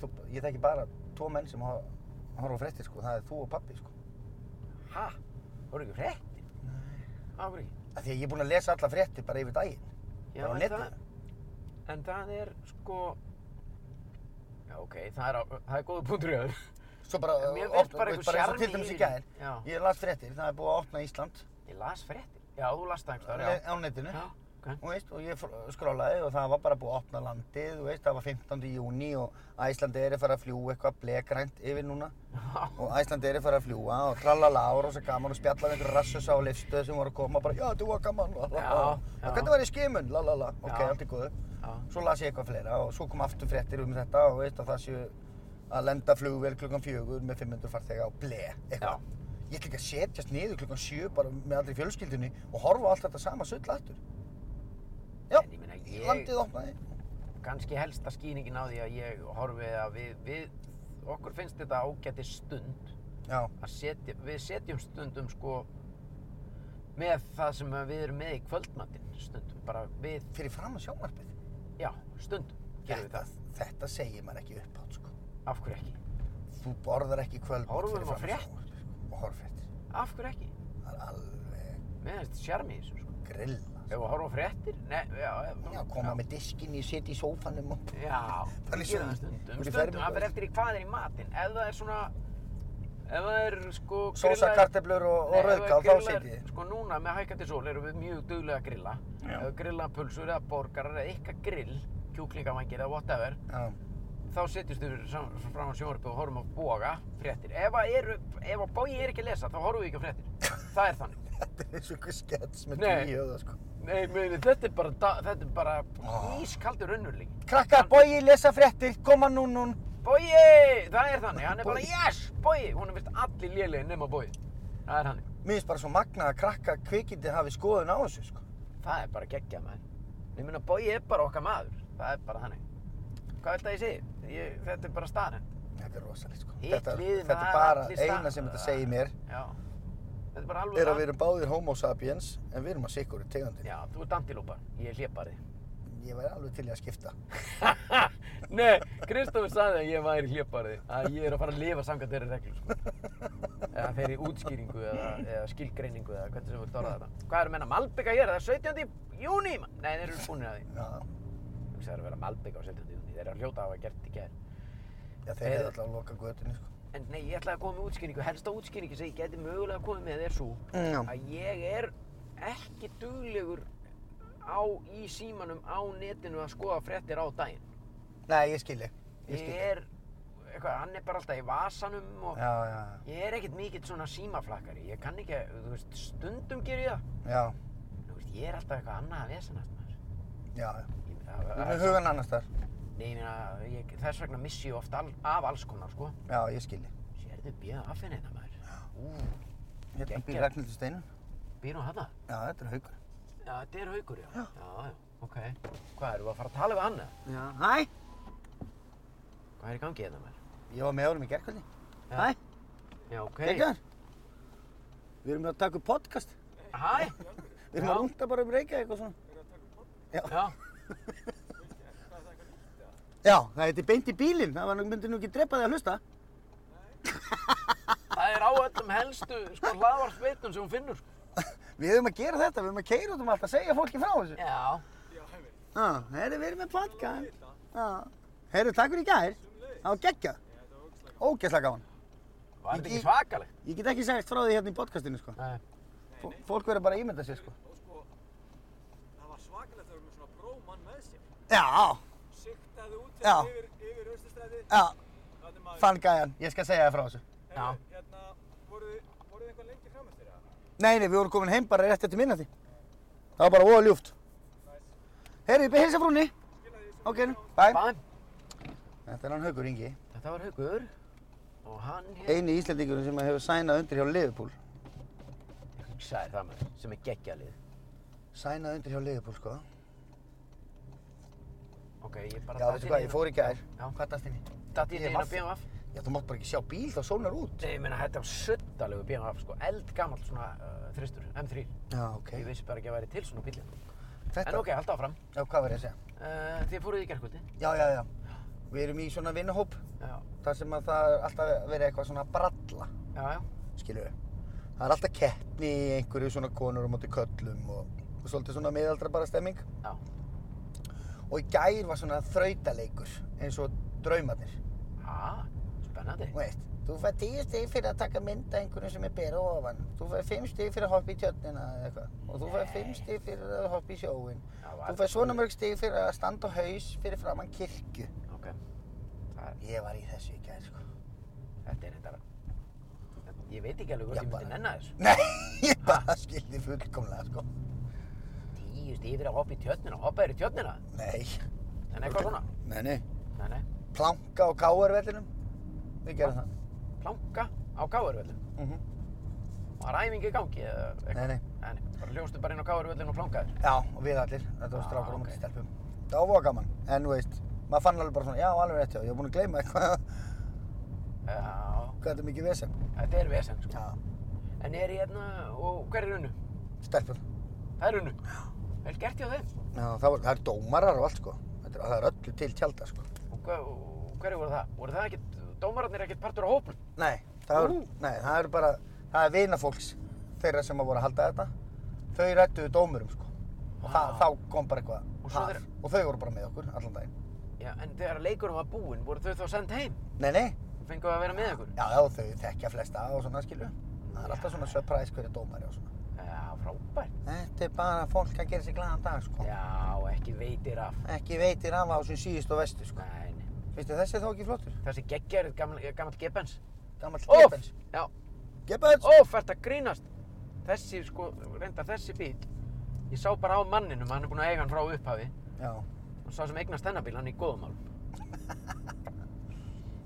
Speaker 2: þú, ég þekki bara tvo menn sem hor- horfa á fréttir, sko. Það er þú og pappi, sko.
Speaker 1: Hæ? Voru ekki fréttir? Nei. Af hverju ekki?
Speaker 2: Af því að ég er búinn að lesa alla fréttir bara yfir daginn.
Speaker 1: Já,
Speaker 2: Bara á
Speaker 1: en
Speaker 2: netinu.
Speaker 1: það, en það er sko... Já, ok, það er, á, það er góða punktur í öður.
Speaker 2: Svo bara,
Speaker 1: En mér finnst
Speaker 2: opna-
Speaker 1: bara einhver
Speaker 2: veist, eins og
Speaker 1: sjarmi
Speaker 2: til
Speaker 1: í
Speaker 2: dæmis í
Speaker 1: því.
Speaker 2: gær.
Speaker 1: Já.
Speaker 2: Ég las fréttir, það er búið að opna Ísland
Speaker 1: Ég las fréttir. Já, þú las það einhverstaðar, já.
Speaker 2: á netinu.
Speaker 1: Já, ok.
Speaker 2: Þú veist, og ég fr- skrollaði og það var bara búið að opna landið, þú veist, það var 15. júni og Æslandi er að fara að fljúa eitthvað blekrænt yfir núna
Speaker 1: Já,
Speaker 2: og Æslandi er að fara að fljúa og tralala og rosa gaman og spjallaði einhverju rassus á lifstöð sem voru að koma bara, já, þú var gaman, lalala,
Speaker 1: Já, já.
Speaker 2: og hvernig var í skimun, lalala, ok,
Speaker 1: Já.
Speaker 2: allt í góðu.
Speaker 1: já.
Speaker 2: Svo las ég eitthvað fleira og svo kom aftur fréttir um þetta og veist að það séu að lenda flugvél klukkan fjögur með 500 farþega og ble, eitthvað. Ég ætla ekki að setjast niður klukkan sjö bara með allri fjölskyldunni og horfa á allt þetta sama sull aftur. Já,
Speaker 1: En ég meina, ég-
Speaker 2: landið opnaði.
Speaker 1: kannski helsta skýningin á því að ég horfi að við, við okkur finnst þetta ágæti stund
Speaker 2: Já,
Speaker 1: að setja, við setjum stundum sko með það sem við erum með í kvöldmattin stundum, bara við,
Speaker 2: fyrir fram að sjónvarpið.
Speaker 1: já, stundum gerum við
Speaker 2: Þetta,
Speaker 1: það,
Speaker 2: þetta segir maður ekki upp átt, sko.
Speaker 1: af hverju ekki
Speaker 2: Þú borðar ekki kvöld
Speaker 1: Horfum á frétt.
Speaker 2: sjónvarpið. sko. Og horf frétt.
Speaker 1: af hverju ekki,
Speaker 2: Það er alveg
Speaker 1: með þetta sjarmi í þessu sko
Speaker 2: grilla.
Speaker 1: ef við horfum á fréttir, ne, já ef-
Speaker 2: Já, koma með diskinni, setja í sófanum og...
Speaker 1: Já, við gerum
Speaker 2: Þannig sem-
Speaker 1: það stundum,
Speaker 2: Þú ert í
Speaker 1: stundum,
Speaker 2: fermingu.
Speaker 1: það fyrir eftir í hvað er í matinn, ef það er svona ef það er sko
Speaker 2: Sósa,
Speaker 1: grillaðir-
Speaker 2: karteblur og, og
Speaker 1: Nei, ef
Speaker 2: rauðkál,
Speaker 1: við
Speaker 2: þá
Speaker 1: grillar-
Speaker 2: setjið.
Speaker 1: Sko núna með hækandi sól erum við mjög duglega að grilla.
Speaker 2: Já.
Speaker 1: Ef við grilla pulsur eða borgarar eða eitthvað grill, kjúklingamængir eða whatever,
Speaker 2: Já, [laughs]
Speaker 1: þá setjumst við sam- fram á sjónvarpið og horfum á boga fréttir. Ef að, eru, ef að bogi er ekki að lesa, þá horfum við ekki á fréttir. Það er þannig.
Speaker 2: þetta er eins og einhver skets með
Speaker 1: Nei.
Speaker 2: tíu og það sko.
Speaker 1: Nei, meni, þetta er bara, da, þetta er bara
Speaker 2: Ah.
Speaker 1: ískaldur önnurleiki.
Speaker 2: Krakkar, bogi, lesa fréttir, koma nú nú.
Speaker 1: Bogi! Það er þannig, hann er bara
Speaker 2: Bogi.
Speaker 1: yes, bogi! Hún er vist allir lélegin nema bogi. það er hannig.
Speaker 2: Mér finnst bara svo magna að krakka kvikindi hafi skoðun á þessu, sko.
Speaker 1: Það er bara geggjað maður. Ég meina, Bogi er bara okkar maður. Það er bara hannig. Hvað viltu að ég segi? Ég, þetta er bara staðan.
Speaker 2: Þetta er rosalegt, sko.
Speaker 1: Hitt
Speaker 2: Þetta,
Speaker 1: liðið,
Speaker 2: þetta
Speaker 1: það
Speaker 2: er
Speaker 1: er
Speaker 2: bara
Speaker 1: allir
Speaker 2: eina
Speaker 1: stað-
Speaker 2: sem þetta segir mér
Speaker 1: Já. Þetta er bara alveg
Speaker 2: er að við erum báðir homo sapiens en við erum að sikkur í tegundin.
Speaker 1: Já, þú ert antilópa. Ég er hljepari.
Speaker 2: Ég væri alveg til í að skipta.
Speaker 1: [laughs] Nei, Kristofur saði að ég væri hljepari. Að ég er að fara að lifa samkvæmt þeirri reglu, sko. Eða þeirri útskýringu eða, eða skilgreiningu eða hvernig sem við erum orðað þetta. Hvað eru menna Malbeka að gera? Það er 17. júni, mann. Nei, þeir eru búinir að því.
Speaker 2: [laughs] Já,
Speaker 1: Þú veist, það er að vera Malbeka á 17. júni. Þeir eru að hljóta að hafa gert í gær.
Speaker 2: já þeir hefði alltaf að loka götunni, sko.
Speaker 1: En nei, ég ætlaði að koma með útskýringu. Helsta útskýringi sem ég geti mögulega komið með er svo
Speaker 2: Mm, Já.
Speaker 1: að ég er ekki duglegur á, í símanum á netinu að skoða fréttir á daginn.
Speaker 2: Nei, ég skilji.
Speaker 1: Ég
Speaker 2: Ég skilji.
Speaker 1: er, eitthvað, hann er bara alltaf í vasanum og
Speaker 2: Já, já, já.
Speaker 1: ég er ekkert mikill svona símaflakkari. Ég kann ekki, að- þú veist, stundum ger ég það.
Speaker 2: Já,
Speaker 1: Þú veist, ég er alltaf eitthvað annað að vesenast maður.
Speaker 2: já.
Speaker 1: Ég-
Speaker 2: Við
Speaker 1: það-
Speaker 2: erum
Speaker 1: það-
Speaker 2: hugan annars þar.
Speaker 1: Nei, ég meina, ég- þess vegna missi ég oft al, af alls konar, sko.
Speaker 2: Já, ég skilji.
Speaker 1: Sérðu bjöða af henni þetta maður. Ú,
Speaker 2: Hérna býr
Speaker 1: Geggjað.
Speaker 2: Ragnhildur Steinin.
Speaker 1: býr hún hann
Speaker 2: Já, þetta er haugur.
Speaker 1: Já, þetta er haukur, já. Já, já, ok. Hvað, erum við að fara að tala við hann eða?
Speaker 2: Já, hæ.
Speaker 1: Hvað er í gangi hérna maður?
Speaker 2: Ég var með honum í gerkvöldi.
Speaker 1: Já.
Speaker 2: Hæ,
Speaker 1: Já, ok.
Speaker 2: geggjar. Við erum að taka upp podcast.
Speaker 1: Hæ?
Speaker 2: Við erum
Speaker 1: Já.
Speaker 2: að rúnta bara um Reykjavík og svona.
Speaker 1: Já.
Speaker 2: Já, það heiti beint í bílinn. Það var, nú- myndi nú ekki drepa þig að hlusta.
Speaker 1: Það er á öllum helstu, sko, hlaðvarsveitnum sem hún finnur, sko.
Speaker 2: [laughs] Við höfum að gera þetta, við höfum að keira út um allt að segja fólki frá þessu.
Speaker 1: Já.
Speaker 2: Já, herru, við erum með podcast. Já, herru, takk fyrir í gær. Það var geggjað. Ógeðslega gaman.
Speaker 1: Var þetta
Speaker 2: Ég-
Speaker 1: ekki svakalegt?
Speaker 2: Ég get ekki sagt frá því hérna í podcastinu, sko.
Speaker 1: Nei.
Speaker 2: Fó- Fólk verður bara að ímynda sér, sko.
Speaker 6: Það var svakalegt að vera með svona prómann með sér.
Speaker 2: Já,
Speaker 6: Siktaði út
Speaker 2: Já.
Speaker 6: yfir, yfir Östustræði,
Speaker 2: já,
Speaker 6: þannig maður.
Speaker 2: fann gæjan. Ég skal segja þér frá þessu.
Speaker 6: Heyrðu,
Speaker 1: Já.
Speaker 6: Hérna, voruð þið, voruð þið eitthvað lengi fram eftir það?
Speaker 2: Nei, nei, við vorum komin heim bara rétt eftir minnati. Það var bara voða ljúft. Herru, ég beð hilsa frúnni. Ok, bæ.
Speaker 1: Bæm.
Speaker 2: Þetta er hann Haugur Ingi.
Speaker 1: Þetta var haukur. Og hann hér...
Speaker 2: Einu íslendingurinn sem hefur sænað undir hjá Liverpool.
Speaker 1: Hugsaði það maður, sem er geggjalið.
Speaker 2: Sænað undir hjá Liverpool, sko.
Speaker 1: Ok, ég bara...
Speaker 2: Já, veistu hvað, ég fór í gær.
Speaker 1: Já.
Speaker 2: Hvað dæst þinni?
Speaker 1: Datt í
Speaker 2: Ég
Speaker 1: hérna
Speaker 2: vaff.
Speaker 1: BMF.
Speaker 2: Já, þú mátt bara ekki sjá bíl, þá sólnar út.
Speaker 1: Nei, ég meina, þetta var suttalegu BMF, sko. Eldgamall svona uh, þristur, M3.
Speaker 2: Já, ok.
Speaker 1: Ég vissi bara ekki að væri til svona bílinn.
Speaker 2: Þetta,
Speaker 1: En ok, halda áfram.
Speaker 2: já, hvað var ég að segja?
Speaker 1: Uh, þið fóruð í gerkvöldi.
Speaker 2: Já, já, já. Við erum í svona vinnuhóp,
Speaker 1: Já,
Speaker 2: þar sem að það er alltaf verið eitthvað svona að bralla,
Speaker 1: já, já.
Speaker 2: skilur við. Það er alltaf keppni í einhverju svona konur á móti köllum og, og svolítið svona miðaldra bara stemming.
Speaker 1: Já.
Speaker 2: Og í gær var svona þrautaleikur, eins og draumarnir.
Speaker 1: Ha, spennandi.
Speaker 2: Þú veist, þú fær tíu stig fyrir að taka mynda einhverjum sem er bera ofan. Þú fær fimm stig fyrir að hoppa í tjörnina eða eitthvað. Og þú fær fimm stig fyrir að hoppa í sjóin.
Speaker 1: Já,
Speaker 2: Þú
Speaker 1: var-
Speaker 2: fær svona mörg stig fyrir að standa á haus fyrir framann kirkju.
Speaker 1: Ok,
Speaker 2: Ég var í þessu í gær, sko.
Speaker 1: þetta er þetta. Ég veit ekki alveg
Speaker 2: Já,
Speaker 1: hvort ég
Speaker 2: bara.
Speaker 1: myndi nenna þessu.
Speaker 2: Nei, [laughs] ég bara skildi fullkomlega, sko.
Speaker 1: Tíu stífir að hoppa í tjörnina, hoppa þér í tjörnina.
Speaker 2: Nei.
Speaker 1: En eitthvað svona.
Speaker 2: Nei, nei.
Speaker 1: Nei, nei.
Speaker 2: Planka á káarvellinum. Við gerum það.
Speaker 1: Planka á káarvöllum.
Speaker 2: Mm
Speaker 1: Var æfing í gangi eða eitthvað?
Speaker 2: Nei, nei.
Speaker 1: Nei, nei. Bara ljóstu bara inn á káarvöllin og plankaður.
Speaker 2: Já, og við allir. Þetta var
Speaker 1: Ah,
Speaker 2: strákur
Speaker 1: ok.
Speaker 2: og mútið stelpum. Það var voða gaman. En, þú veist, maður fann alveg bara svona, já, alveg rétt, já. Ég var búinn að gleyma eitthvað,
Speaker 1: Já,
Speaker 2: [laughs] hvað þetta er mikið vesen.
Speaker 1: þetta er vesen, sko.
Speaker 2: Já,
Speaker 1: En er ég hérna, og hver er unnu?
Speaker 2: stelpur.
Speaker 1: Það er unnu. Vel gert hjá þeim.
Speaker 2: Já, það, var, það er dómarar og allt, sko. Þetta er, það er öllu til tjálta, sko.
Speaker 1: Og, hva- og hverju voru það? Voru það ekkert, dómararnir ekkert partur á hópnum?
Speaker 2: Nei, það eru,
Speaker 1: Ú.
Speaker 2: nei, það eru bara, það er vinafólks þeirra sem að voru að halda þetta. Þau rættuðu dómurum, sko. Og það,
Speaker 1: Vá.
Speaker 2: þá kom bara eitthvað
Speaker 1: Og svo
Speaker 2: par.
Speaker 1: þeir-
Speaker 2: Og þau voru bara með okkur allan daginn.
Speaker 1: Já, en þegar leikurinn var búinn, voru þau þá send heim?
Speaker 2: Nei, nei,
Speaker 1: Fengu að vera með ykkur?
Speaker 2: já, já, þau þekkja flesta og svona, skilju. Það er alltaf svona
Speaker 1: Já.
Speaker 2: surprise hverju dómari og svona.
Speaker 1: Já, frábært.
Speaker 2: Þetta er bara fólk að gera sér glæðan dag, sko.
Speaker 1: Já, ekki veitir af.
Speaker 2: Ekki veitir af á sem síðust og vestu, sko.
Speaker 1: Nei, nei.
Speaker 2: Veistu, þessi er þó ekki flottur.
Speaker 1: Þessi eh, geggjarið gammal, gammal geppens.
Speaker 2: Gammal
Speaker 1: Óff!
Speaker 2: Gebbels.
Speaker 1: Já.
Speaker 2: Gebbels!
Speaker 1: Ó, fært að grínast. Þessi, sko, reyndar þessi bíl. Ég sá bara á manninum, hann er búinn að eiga hann frá upphafi.
Speaker 2: Já,
Speaker 1: Og sá sem eignast þennan bíl, hann er í góðum málum.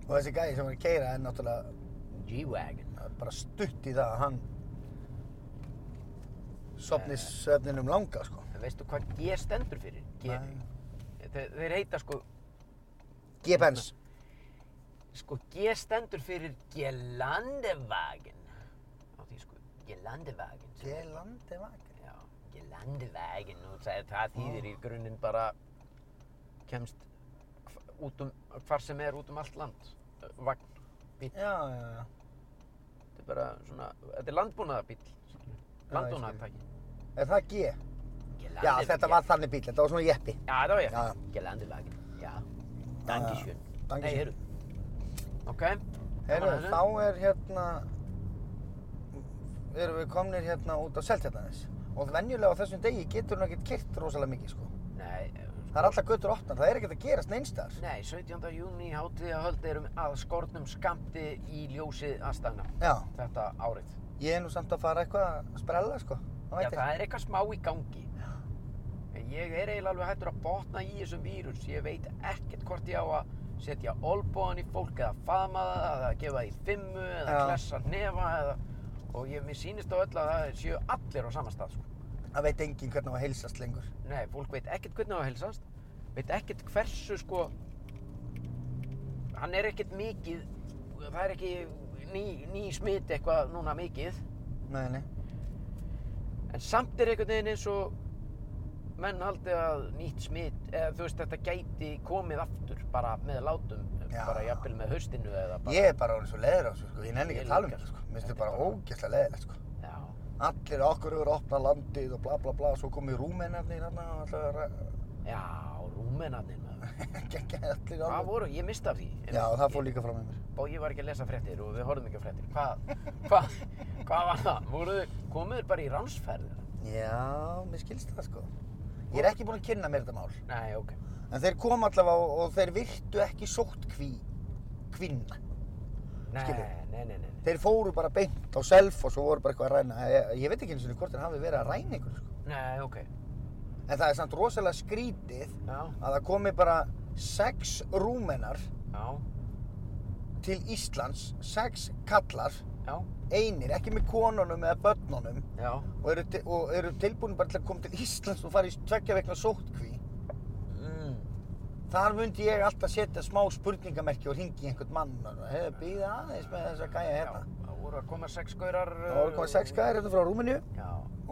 Speaker 2: og þessi gæði sem var að keira er náttúrulega
Speaker 1: G-Wagon.
Speaker 2: bara stutt í það að hann sopni
Speaker 1: Eh.
Speaker 2: svefninum langa sko.
Speaker 1: En Veistu hvað G stendur fyrir? G, þeir, þeir heita sko,
Speaker 2: G-Benz.
Speaker 1: sko G stendur fyrir Gelandewagen. Á því sko, Gelandewagen. sem er-
Speaker 2: G-Landevagn.
Speaker 1: Já, Gelandewagen og það, það
Speaker 2: Ah.
Speaker 1: þýðir í grunninn bara kemst hv- út um, hvar sem er út um allt land. Eh, Vagn, bíll,
Speaker 2: Já, já, já.
Speaker 1: þetta er bara svona, þetta er landbúnaðabíll, landbúnaðartæki.
Speaker 2: Er það G? Já, þetta var þannig bíl, þetta var svona jeppi.
Speaker 1: Já, þetta var ég.
Speaker 2: Já, já.
Speaker 1: Gelandewagen, já. Dankeschön. Nei,
Speaker 2: Dankeschön.
Speaker 1: heyrðu. Ok.
Speaker 2: Heyrðu,
Speaker 1: gaman að
Speaker 2: þá er hérna, erum við komnir hérna út á Seltjarnanes. Og venjulega á þessum degi getur hún ekkert kyrt rosalega mikið, sko.
Speaker 1: Nei, eh,
Speaker 2: Það er alltaf götur opnar, það er ekkert að gerast neinstar.
Speaker 1: nei, 17. júni hátíðahöld erum að skornum skamti í ljósi aðstæðna
Speaker 2: Já,
Speaker 1: þetta árið.
Speaker 2: ég er nú samt að fara eitthvað að sprella, sko.
Speaker 1: Já, það er eitthvað smá í gangi. En ég er eiginlega alveg hættur að botna í þessum vírus. Ég veit ekkert hvort ég á að setja olbóðan í fólk eða faðma það, eða gefa því fimmu, eða
Speaker 2: Já.
Speaker 1: klessa nefa, eða... Og ég, mér sýnist á öll að það séu allir á sama stað, sko.
Speaker 2: Það veit enginn hvernig á að heilsast lengur.
Speaker 1: Nei, fólk veit ekkert hvernig á að heilsast, veit ekkert hversu sko, hann er ekkert mikið, það er ekki ný, ný smit eitthvað núna mikið,
Speaker 2: Nei, nei.
Speaker 1: en samt er einhvern veginn eins og menn haldi að nýtt smit, eða þú veist þetta gæti komið aftur bara með látum,
Speaker 2: Já.
Speaker 1: bara jafnvel með haustinu eða bara.
Speaker 2: Ég er bara orðin svo leiður á þessu, sko. Ég nenni ekki
Speaker 1: Ég
Speaker 2: að tala um
Speaker 1: líka,
Speaker 2: þetta, sko.
Speaker 1: sko.
Speaker 2: Mér finnst
Speaker 1: Þetta
Speaker 2: þetta
Speaker 1: er
Speaker 2: bara
Speaker 1: bara-
Speaker 2: ógeðslega leiðilegt, sko.
Speaker 1: Já,
Speaker 2: Allir okkur eru að opna landið og bla bla bla, svo komið rúmennarnir hérna og [laughs] alltaf
Speaker 1: já, rúmenarnir maður.
Speaker 2: geggja allir
Speaker 1: Það
Speaker 2: alveg.
Speaker 1: voru, ég misti af því.
Speaker 2: Já, það fór líka fram með mér.
Speaker 1: og ég var ekki að lesa fréttir og við horfum ekki á fréttir. Hvað, hvað, hvað var það? Voruðu, komuður bara í ránsferðir?
Speaker 2: Já, mér skilst það, sko. Ég er ekki búinn að kynna mér þetta mál.
Speaker 1: Nei, ok.
Speaker 2: En þeir kom allavega og, og þeir virtu ekki sóttkví, kvinna.
Speaker 1: Nei,
Speaker 2: Skilur.
Speaker 1: nei, nei, nei. nei.
Speaker 2: Þeir fóru bara beint á self og svo voru bara eitthvað að ræna. Ég, ég veit ekki eins og hvort þeir hafi verið að ræna ykkur, sko.
Speaker 1: Nei, ok.
Speaker 2: En það er samt rosalega skrítið
Speaker 1: Já,
Speaker 2: að það komi bara sex rúmenar
Speaker 1: já,
Speaker 2: til Íslands, sex kallar,
Speaker 1: já,
Speaker 2: einir, ekki með konunum eða börnunum
Speaker 1: já.
Speaker 2: og eru, til, og eru tilbúin bara til að koma til Íslands og fara í tveggja vegna sóttkví.
Speaker 1: Mm.
Speaker 2: Þar myndi ég alltaf setja smá spurningamerki og ringi í einhvern mann og hefði býða aðeins með þessa gæja
Speaker 1: Já,
Speaker 2: hérna.
Speaker 1: það voru að koma sex gaurar.
Speaker 2: Það voru komið sex gæjar hérna frá Rúmeníu
Speaker 1: Já,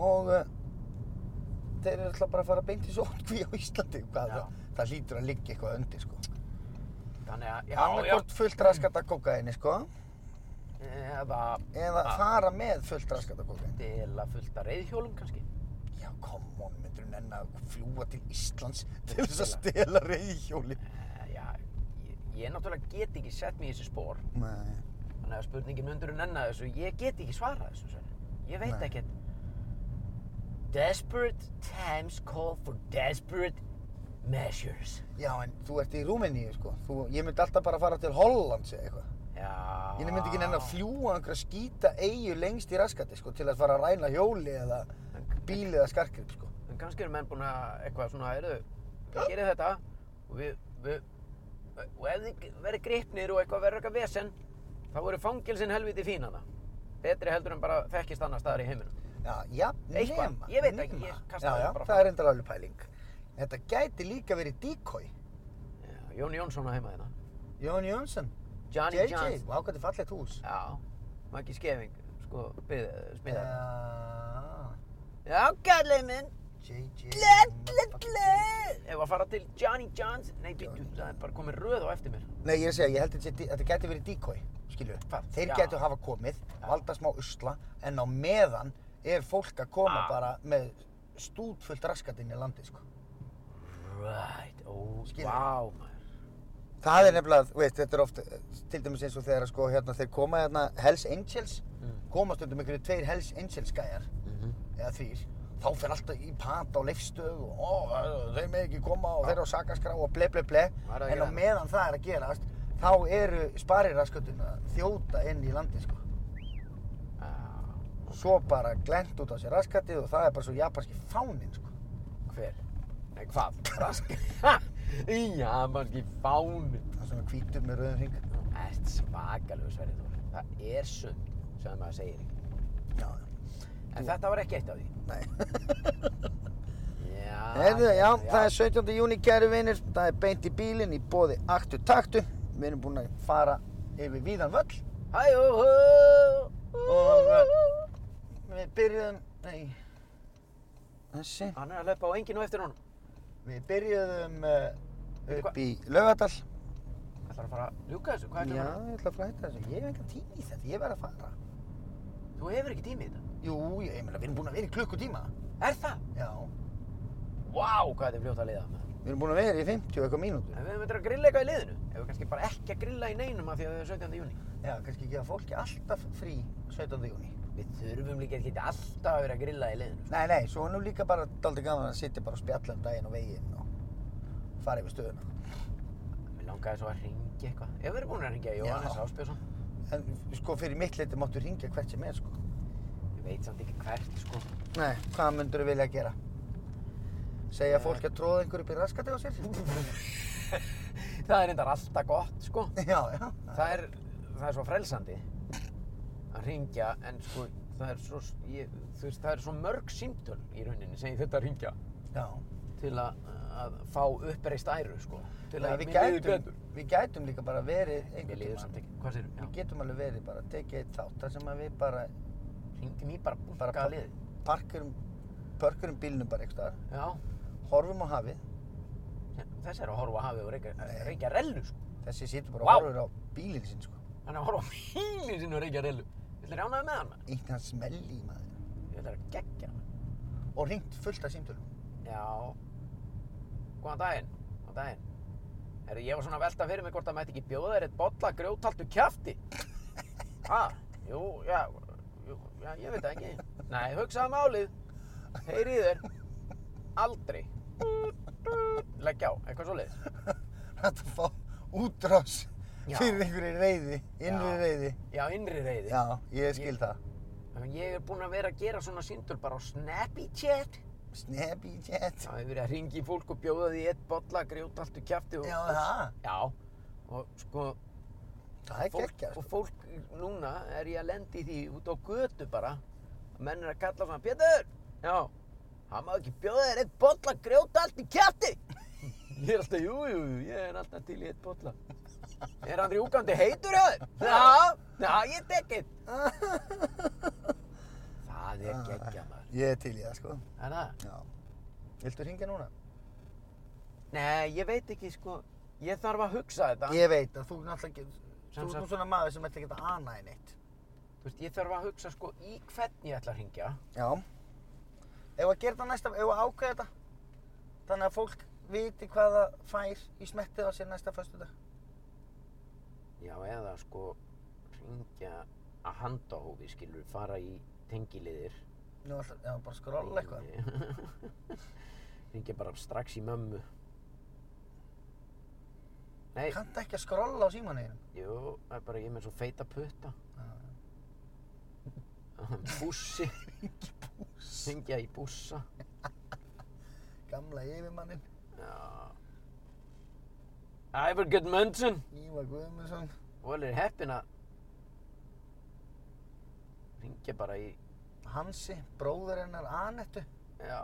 Speaker 2: og uh, þeir eru alltaf bara að fara beint í sóttkví á Íslandi. Hvað,
Speaker 1: Já.
Speaker 2: það, það hlýtur að liggja eitthvað undir sko.
Speaker 1: þannig að, já, já.
Speaker 2: Annarkort fullt raskata kokaini sko
Speaker 1: Eða
Speaker 2: eða
Speaker 1: Ah.
Speaker 2: fara með fullt raskata kokaini.
Speaker 1: dela fullt að reyðhjólum kannski.
Speaker 2: Já, come on, myndur hún enna að fljúa til Íslands til þess að stela reyðhjóli?
Speaker 1: Eh, Já, ég, ég náttúrulega get ekki sett mig í þessi spór.
Speaker 2: Nei.
Speaker 1: Þannig að spurningin undur en enna þessu, ég get ekki svarað þessu, Svenni. Ég veit
Speaker 2: Nei.
Speaker 1: ekkert. Desperate times call for desperate measures.
Speaker 2: Já, en þú ert í Rúmeníu, sko. Þú, ég myndi alltaf bara fara til Hollands eða eitthvað.
Speaker 1: Já.
Speaker 2: Ég myndi ekki nenni að fljúa einhverja skýta eigu lengst í raskati, sko, til að fara að ræna hjóli eða bíl eða skarkrip, sko.
Speaker 1: En kannski eru menn búin að eitthvað svona, heyrðu, við gerum þetta og við, við, og ef þið verður gripnir og eitthvað verður eitthvað vesen, þá eru fangilsin helviti fín hana. Betri heldur en bara þekkist annar staðar í heiminum.
Speaker 2: Já, já,
Speaker 1: Eitthvað.
Speaker 2: nema,
Speaker 1: Ég veit ekki,
Speaker 2: nema.
Speaker 1: ég kasta
Speaker 2: Já,
Speaker 1: þessu
Speaker 2: já,
Speaker 1: bara
Speaker 2: það
Speaker 1: fram.
Speaker 2: er reyndar alveg pæling. Þetta gæti líka verið decoy.
Speaker 1: Já, Jón Jónsson á heima hérna. þarna.
Speaker 2: Jón Jónsson,
Speaker 1: Johnny
Speaker 2: JJ,
Speaker 1: Johns.
Speaker 2: vá, hvað er fallegt hús.
Speaker 1: Já, Maggi Skeving, sko, smíða.
Speaker 2: Já,
Speaker 1: Já, gæðlega minn.
Speaker 2: JJ.
Speaker 1: Ef að fara til Johnny Johns, nei, býttu, það er bara komið röð á eftir mér.
Speaker 2: Nei, ég er að segja, ég held að þetta sé- þetta gæti verið decoy, skilju.
Speaker 1: Hvað?
Speaker 2: Þeir
Speaker 1: Já.
Speaker 2: gætu hafa komið, valda smá usla, en á meðan er fólk að koma
Speaker 1: Ah.
Speaker 2: bara með stútfullt raskat inn í landi, sko.
Speaker 1: Right, ó,
Speaker 2: Skilur.
Speaker 1: vá, maður.
Speaker 2: Það er nefnilega, þú veist, þetta er oft, eh, til dæmis eins og þegar sko, hérna, þeir koma hérna Hells Angels, koma stundum einhverju tveir Hells Angels gæjar, eða þvír, þá fer alltaf í pat á leifstöð og ó, eh, þeir með ekki koma og þeir eru á sakaskrá og ble ble ble,
Speaker 1: Var það að
Speaker 2: en á
Speaker 1: gera?
Speaker 2: meðan það er að gerast, þá eru spariraskötun að þjóta inn í landi, sko.
Speaker 1: Já,
Speaker 2: svo bara glent út á sér raskatið og það er bara svo japanski fáninn sko.
Speaker 1: hver? Nei, hvað? Rask? Já, mannski fáni.
Speaker 2: Það er svona hvítur með rauðum hring.
Speaker 1: Ert svakalegu sverið þú. Það er sund sem maður segir ekki.
Speaker 2: Já, já.
Speaker 1: En þetta var ekki eitt af því.
Speaker 2: Nei.
Speaker 1: Já.
Speaker 2: Heyrðu, já,
Speaker 1: hérna,
Speaker 2: það er 17. júni, kæru vinir, það er beint í bílinn í bóði aktu taktu. Við erum búin að fara yfir víðan völl
Speaker 1: Hæ, hó, hó.
Speaker 2: og uh, við byrjuðum, nei, þessi,
Speaker 1: Hann er að löpa á enginn og eftir honum.
Speaker 2: við byrjuðum uh,
Speaker 1: Veitu
Speaker 2: upp í Laugardal.
Speaker 1: Ætlar að fara að ljúka þessu? Hvað
Speaker 2: Já,
Speaker 1: ætlar
Speaker 2: ég
Speaker 1: að fara?
Speaker 2: ætla að fara að hætta þessu, ég hef engan tími í þetta, ég verð að fara.
Speaker 1: Þú hefur ekki tími í þetta.
Speaker 2: Jú, ég, ég meina, við erum búin að vera í klukkutíma.
Speaker 1: Er það?
Speaker 2: Já,
Speaker 1: Vá, wow, hvað þetta er fljótt að liða með.
Speaker 2: við erum búin að vera í 50 eitthvað mínútur.
Speaker 1: En við höfum eitthvað að grilla eitthvað í liðinu. Ef við kannski bara ekki að grilla í neinum af því að það er 17. júni.
Speaker 2: Já, kannski gefa fólki alltaf frí 17. júni.
Speaker 1: Við þurfum líka ekki alltaf að vera að grilla í liðinu.
Speaker 2: Nei, nei, svo er nú líka bara daldi gaman að sitja bara og spjalla um daginn og veginn og fara yfir stöðuna.
Speaker 1: Við langaði svo að ringja eitthvað. Ef við erum búin að ringja
Speaker 2: Já.
Speaker 1: Jóhannes Áspjörsson.
Speaker 2: En sko fyrir mitt liti máttu ringja hvert sem er sko.
Speaker 1: Ég veit samt ekki hvert, [laughs] sko.
Speaker 2: Nei, hvað myndur þú vilja að gera? Segja
Speaker 1: Eh.
Speaker 2: fólki að tróða einhver upp í raskati á sér?
Speaker 1: það er endar alltaf gott, sko.
Speaker 2: já, já.
Speaker 1: Það er, það er svo frelsandi að ringja, en sko, það er svo, ég, þú veist, það er svo mörg símtöl í rauninni sem ég þetta að ringja
Speaker 2: Já.
Speaker 1: til að, að fá uppreist æru, sko. Til
Speaker 2: Já,
Speaker 1: að
Speaker 2: við,
Speaker 1: mér líði
Speaker 2: gætum, við gætum líka bara verið
Speaker 1: Mér
Speaker 2: einhvern
Speaker 1: liður
Speaker 2: tíma.
Speaker 1: samt ekki. Hvað sérum?
Speaker 2: Við
Speaker 1: Já,
Speaker 2: getum alveg verið bara, tekið eitt þátt þar sem að við bara
Speaker 1: ringum í bara
Speaker 2: Bara
Speaker 1: bunga
Speaker 2: pa-
Speaker 1: að liði.
Speaker 2: parkurum, parkurum bílnum bara einhvers staðar,
Speaker 1: Já,
Speaker 2: horfum á hafið,
Speaker 1: þessi er að horfa á hafið og reykja, reykja rellu, sko.
Speaker 2: þessi situr bara
Speaker 1: Vá.
Speaker 2: og horfur á bílinn sinn sko.
Speaker 1: Hann er að horfa á hílinn sinu og reykja rellu. Þetta er ránaði með hann, maður.
Speaker 2: Ítt hann smelli í maður.
Speaker 1: Þetta er að gegja hann.
Speaker 2: Og ringt fullt af símtölum.
Speaker 1: Já. Góðan daginn. Góðan daginn. Herru, ég var svona að velta fyrir mig hvort það mætti ekki bjóða þér eitt bolla grjóthaltu kjafti. Ha? Jú, já, jú, já, ég veit það ekki. Nei, hugsaðu málið. Heyri í þér. Aldrei. Leggja á, eitthvað svo
Speaker 2: Þetta fá útrás
Speaker 1: Já.
Speaker 2: fyrir einhverju reyði, innri
Speaker 1: Já.
Speaker 2: reyði.
Speaker 1: Já, innri reyði.
Speaker 2: Já, ég skil
Speaker 1: Ég-
Speaker 2: það.
Speaker 1: Ég er búinn að vera að gera svona síndul bara á Snappy Chat.
Speaker 2: Snappy chat.
Speaker 1: Það hefur verið að ringi í fólk og bjóða því eitt bolla grjóthaltu kjafti og...
Speaker 2: Já, það.
Speaker 1: Já, og sko,
Speaker 2: Það er
Speaker 1: fólk, og
Speaker 2: geggjað. sko.
Speaker 1: fólk núna er ég að lendi því út á götu bara að menn er að kalla svona Pétur, já, hann má ekki bjóða þér eitt bolla grjóta allt í kjætti [laughs] ég er alltaf, jú, jú, jú, ég er alltaf til í eitt bolla er hann rjúkandi heitur hjá þér já, já, ég tek eitt það er geggja maður
Speaker 2: [laughs] Ég er til í það, sko.
Speaker 1: er það?
Speaker 2: Já. Viltu ringja núna?
Speaker 1: nei, ég veit ekki, sko ég þarf að hugsa þetta
Speaker 2: Ég veit að þú náttúrulega ekki,
Speaker 1: Sem
Speaker 2: þú ert nú
Speaker 1: sagt-
Speaker 2: svona maður sem ætti ekki að ana í neitt.
Speaker 1: Þú veist, ég þarf að hugsa, sko, í hvern ég ætla að ringja
Speaker 2: Já. Ef að gera þetta næsta, ef að ákveða þetta, þannig að fólk viti hvað það fær í smettið á sér næsta föstudag.
Speaker 1: Já, eða sko ringja að handahófi, skilur, fara í tengiliðir.
Speaker 2: Nú alltaf, já, bara skrolla eitthvað.
Speaker 1: [laughs] ringja bara strax í mömmu. Nei,
Speaker 2: Kanntu ekki að skrolla á símaneginum?
Speaker 1: jú, það er bara ég er með svo feita putta. [laughs] Bússi. Ringja í bússa.
Speaker 2: Gamla yfirmannin,
Speaker 1: Já. Ævar Gudmundsson.
Speaker 2: Ívar Guðmundsson.
Speaker 1: Vel er heppin að ringja bara í,
Speaker 2: Hansi, bróður hennar Anettu.
Speaker 1: já.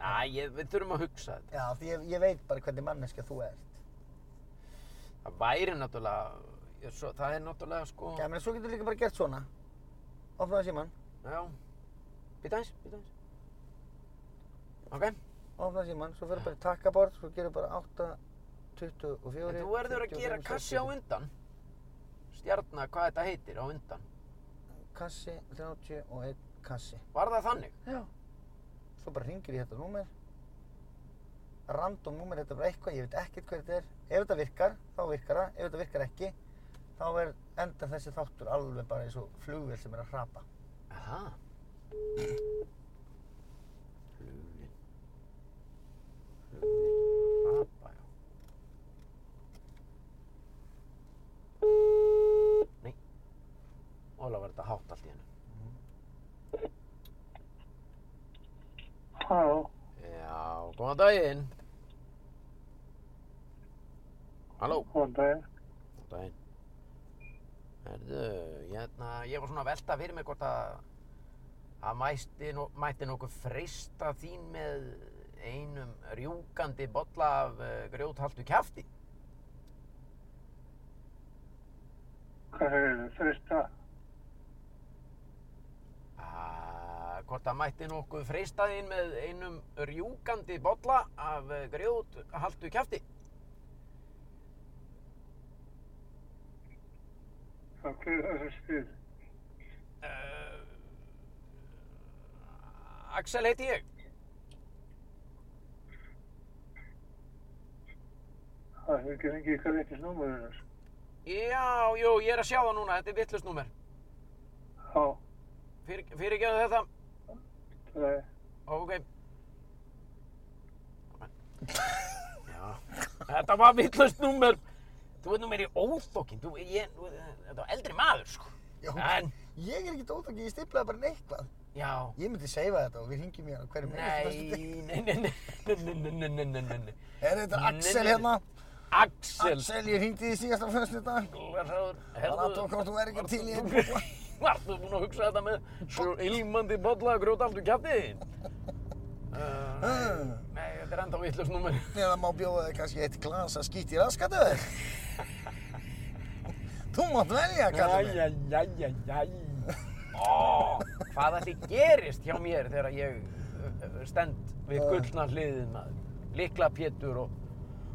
Speaker 1: Æ, ég, við þurfum að hugsa þetta.
Speaker 2: Já, því ég, ég veit bara hvernig manneska þú ert.
Speaker 1: Það væri náttúrulega, ég, svo, það er náttúrulega sko,
Speaker 2: Já, menn, svo getur líka bara gert svona. Opnaðu síman,
Speaker 1: já, býta eins, býta eins. Ok,
Speaker 2: opnaðu síman, svo fyrir bara í takkabort, svo gerir bara 8, 24,
Speaker 1: en þú verður að gera kassi á undan. Stjarnar, hvað þetta heitir á undan.
Speaker 2: Kassi, 30 og 1 kassi.
Speaker 1: Var það þannig?
Speaker 2: Já. Svo bara ringir í þetta númer. Random númer, þetta er bara eitthvað, ég veit ekkert hvað þetta er. Ef þetta virkar, þá virkar það. Ef þetta virkar ekki, þá er endar þessi þáttur alveg bara eins og flugvél sem er að hrapa.
Speaker 1: Aha. Flugvinn. Flugvinn. Rapa, já. Nei. Óla var þetta hátt allt í hennu.
Speaker 7: Halló,
Speaker 1: Já, góðan daginn. Halló.
Speaker 7: góðan daginn.
Speaker 1: Góðan daginn. Herðu, hérna, ég var svona að velta fyrir mig hvort að Það mætti, nú- mætti nokkuð freista þín með einum rjúkandi bolla af uh, grjóthaltu kjafti.
Speaker 5: Hvað hefur þau freista?
Speaker 1: Ah, Hvort það mætti nokkuð freista þín með einum rjúkandi bolla af eh, grjóthaltu kjafti.
Speaker 5: Hvað hefur þessu stuð?
Speaker 1: Uh, Axel heiti ég.
Speaker 5: Það hefur ekki fengið ykkur réttis númurinn.
Speaker 1: Já, jú, ég er að sjá það núna. Þetta er vittlust númer.
Speaker 5: Já,
Speaker 1: Fyrir, fyrirgeðu þetta.
Speaker 5: það er...
Speaker 1: Ok. Já. Þetta var vittlust númer. Þú veit nú meiri óþokkin. Þú, ég, þú- þetta var eldri maður, sko.
Speaker 2: Já,
Speaker 1: En,
Speaker 2: ég er ekkert óþokki, ég stiplaði bara neikvað.
Speaker 1: já.
Speaker 2: Ég myndi seifa þetta og við ringjum hérna hverjum
Speaker 1: Nei, nei, nei, nei, nei, nei, nei, nei, nei, nei, nei.
Speaker 2: Er þetta er
Speaker 1: Nei,
Speaker 2: Axel
Speaker 1: nei.
Speaker 2: hérna?
Speaker 1: Axel.
Speaker 2: Axel, ég hringdi í síðasta fyrstu dag.
Speaker 1: Glerhraður,
Speaker 2: Það
Speaker 1: herðu.
Speaker 2: aðtók hvort þú er ekki til í einu bolla.
Speaker 1: Vartu búinn að hugsa þetta með svo ilmandi bolla að grjóta allt úr kjafti þín? Uh, nei, þetta er enda vittlust númer.
Speaker 2: Hm. Eða má bjóða þig kannski eitt glas að skýti í raskatu þig. [laughs] Þú mátt velja, kallar mig.
Speaker 1: Æjæjæjæjæj. Ó, hvað ætli gerist hjá mér þegar ég uh, stend við gullna hliðið maður. Likla Pétur og,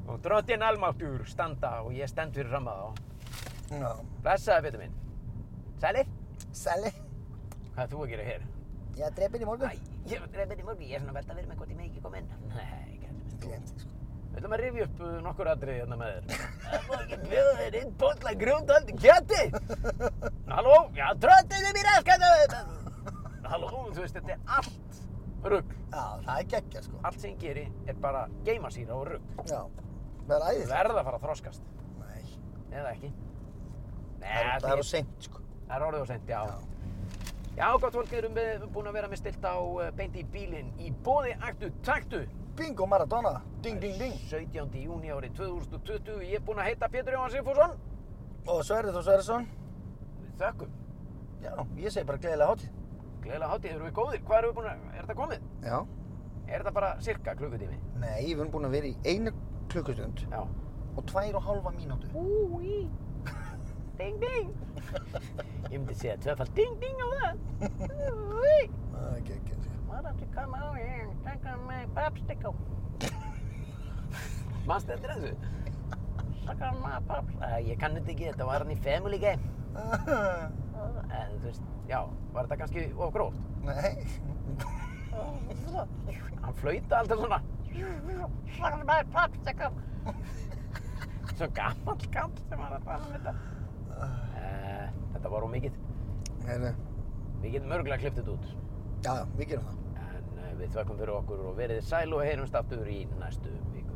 Speaker 1: og drottin Almáttur standa og ég stend fyrir fram að þá.
Speaker 2: Já,
Speaker 1: Blessaði Pétur minn. Sælir,
Speaker 2: Sally,
Speaker 1: hvað er þú að gera hér?
Speaker 2: ég er drepin í
Speaker 1: Æ,
Speaker 2: morgun.
Speaker 1: ég er dreipið í morgun, ég er svona að velta fyrir mig hvort ég megi ekki koma inn. Nei, gæti minn.
Speaker 2: Glemti, sko.
Speaker 1: Við ætlum að rifja upp uh, nokkur atriði hérna með þér. Það má ekki bjóða þér inn bolla grjótandi kjatti. Halló, já, tröttið þið mér aðskæta. Halló, þú veist, þetta er allt rugg.
Speaker 2: Já, það er geggja, sko.
Speaker 1: Allt sem ég geri er bara geimasýra og rugg.
Speaker 2: Já, það er
Speaker 1: Þú
Speaker 2: æðið.
Speaker 1: verð að fara að þroskast,
Speaker 2: Nei,
Speaker 1: eða ekki. Nei,
Speaker 2: það er-
Speaker 1: ætli
Speaker 2: það
Speaker 1: ég-
Speaker 2: er á seint, sko.
Speaker 1: Það er orðið og sent, já. já. gott fólk, við erum eh, búin að vera með stilt á uh, beint í bílinn í bóði aktu taktu.
Speaker 2: Bingo Maradona, ding, ding, ding.
Speaker 1: 17. júni árið 2020. Ég er búin að heita Pétur Jóhann Sigfússon.
Speaker 2: Og Sverrið Þór Sverrisson.
Speaker 1: Við þökkum.
Speaker 2: Já, ég segi bara gleðilega hátíð.
Speaker 1: Gleðilega hátíð, erum við góðir? Hvað erum við búin að, er þetta komið?
Speaker 2: Já.
Speaker 1: Er þetta bara cirka klukkutími?
Speaker 2: Nei, við erum búin að vera í einu klukkustund
Speaker 1: Já.
Speaker 2: og tvær og hálfa mínútu. [laughs]
Speaker 1: Úi, ding ding. Ég myndi segja tvöfald ding ding á það. Úi,
Speaker 2: Það er geggja, sko.
Speaker 1: why don't you come out here and take on my popsicle? Manstu eftir þessu? Suck on my popsicle. Uh, ég kann þetta ekki, þetta var hann í Family Game. Uh, en þú veist, já, var þetta kannski of gróft?
Speaker 2: Nei.
Speaker 1: Hann flauta alltaf svona Svona maður popsicle Svo gammal skall sem var að tala um þetta uh, Þetta var ómikið
Speaker 2: Heyrðu,
Speaker 1: Við getum örgulega klift þetta út eh,
Speaker 2: já, já, við gerum það.
Speaker 1: En uh, við þökkum fyrir okkur og verið sæl og heyrumst aftur í næstu viku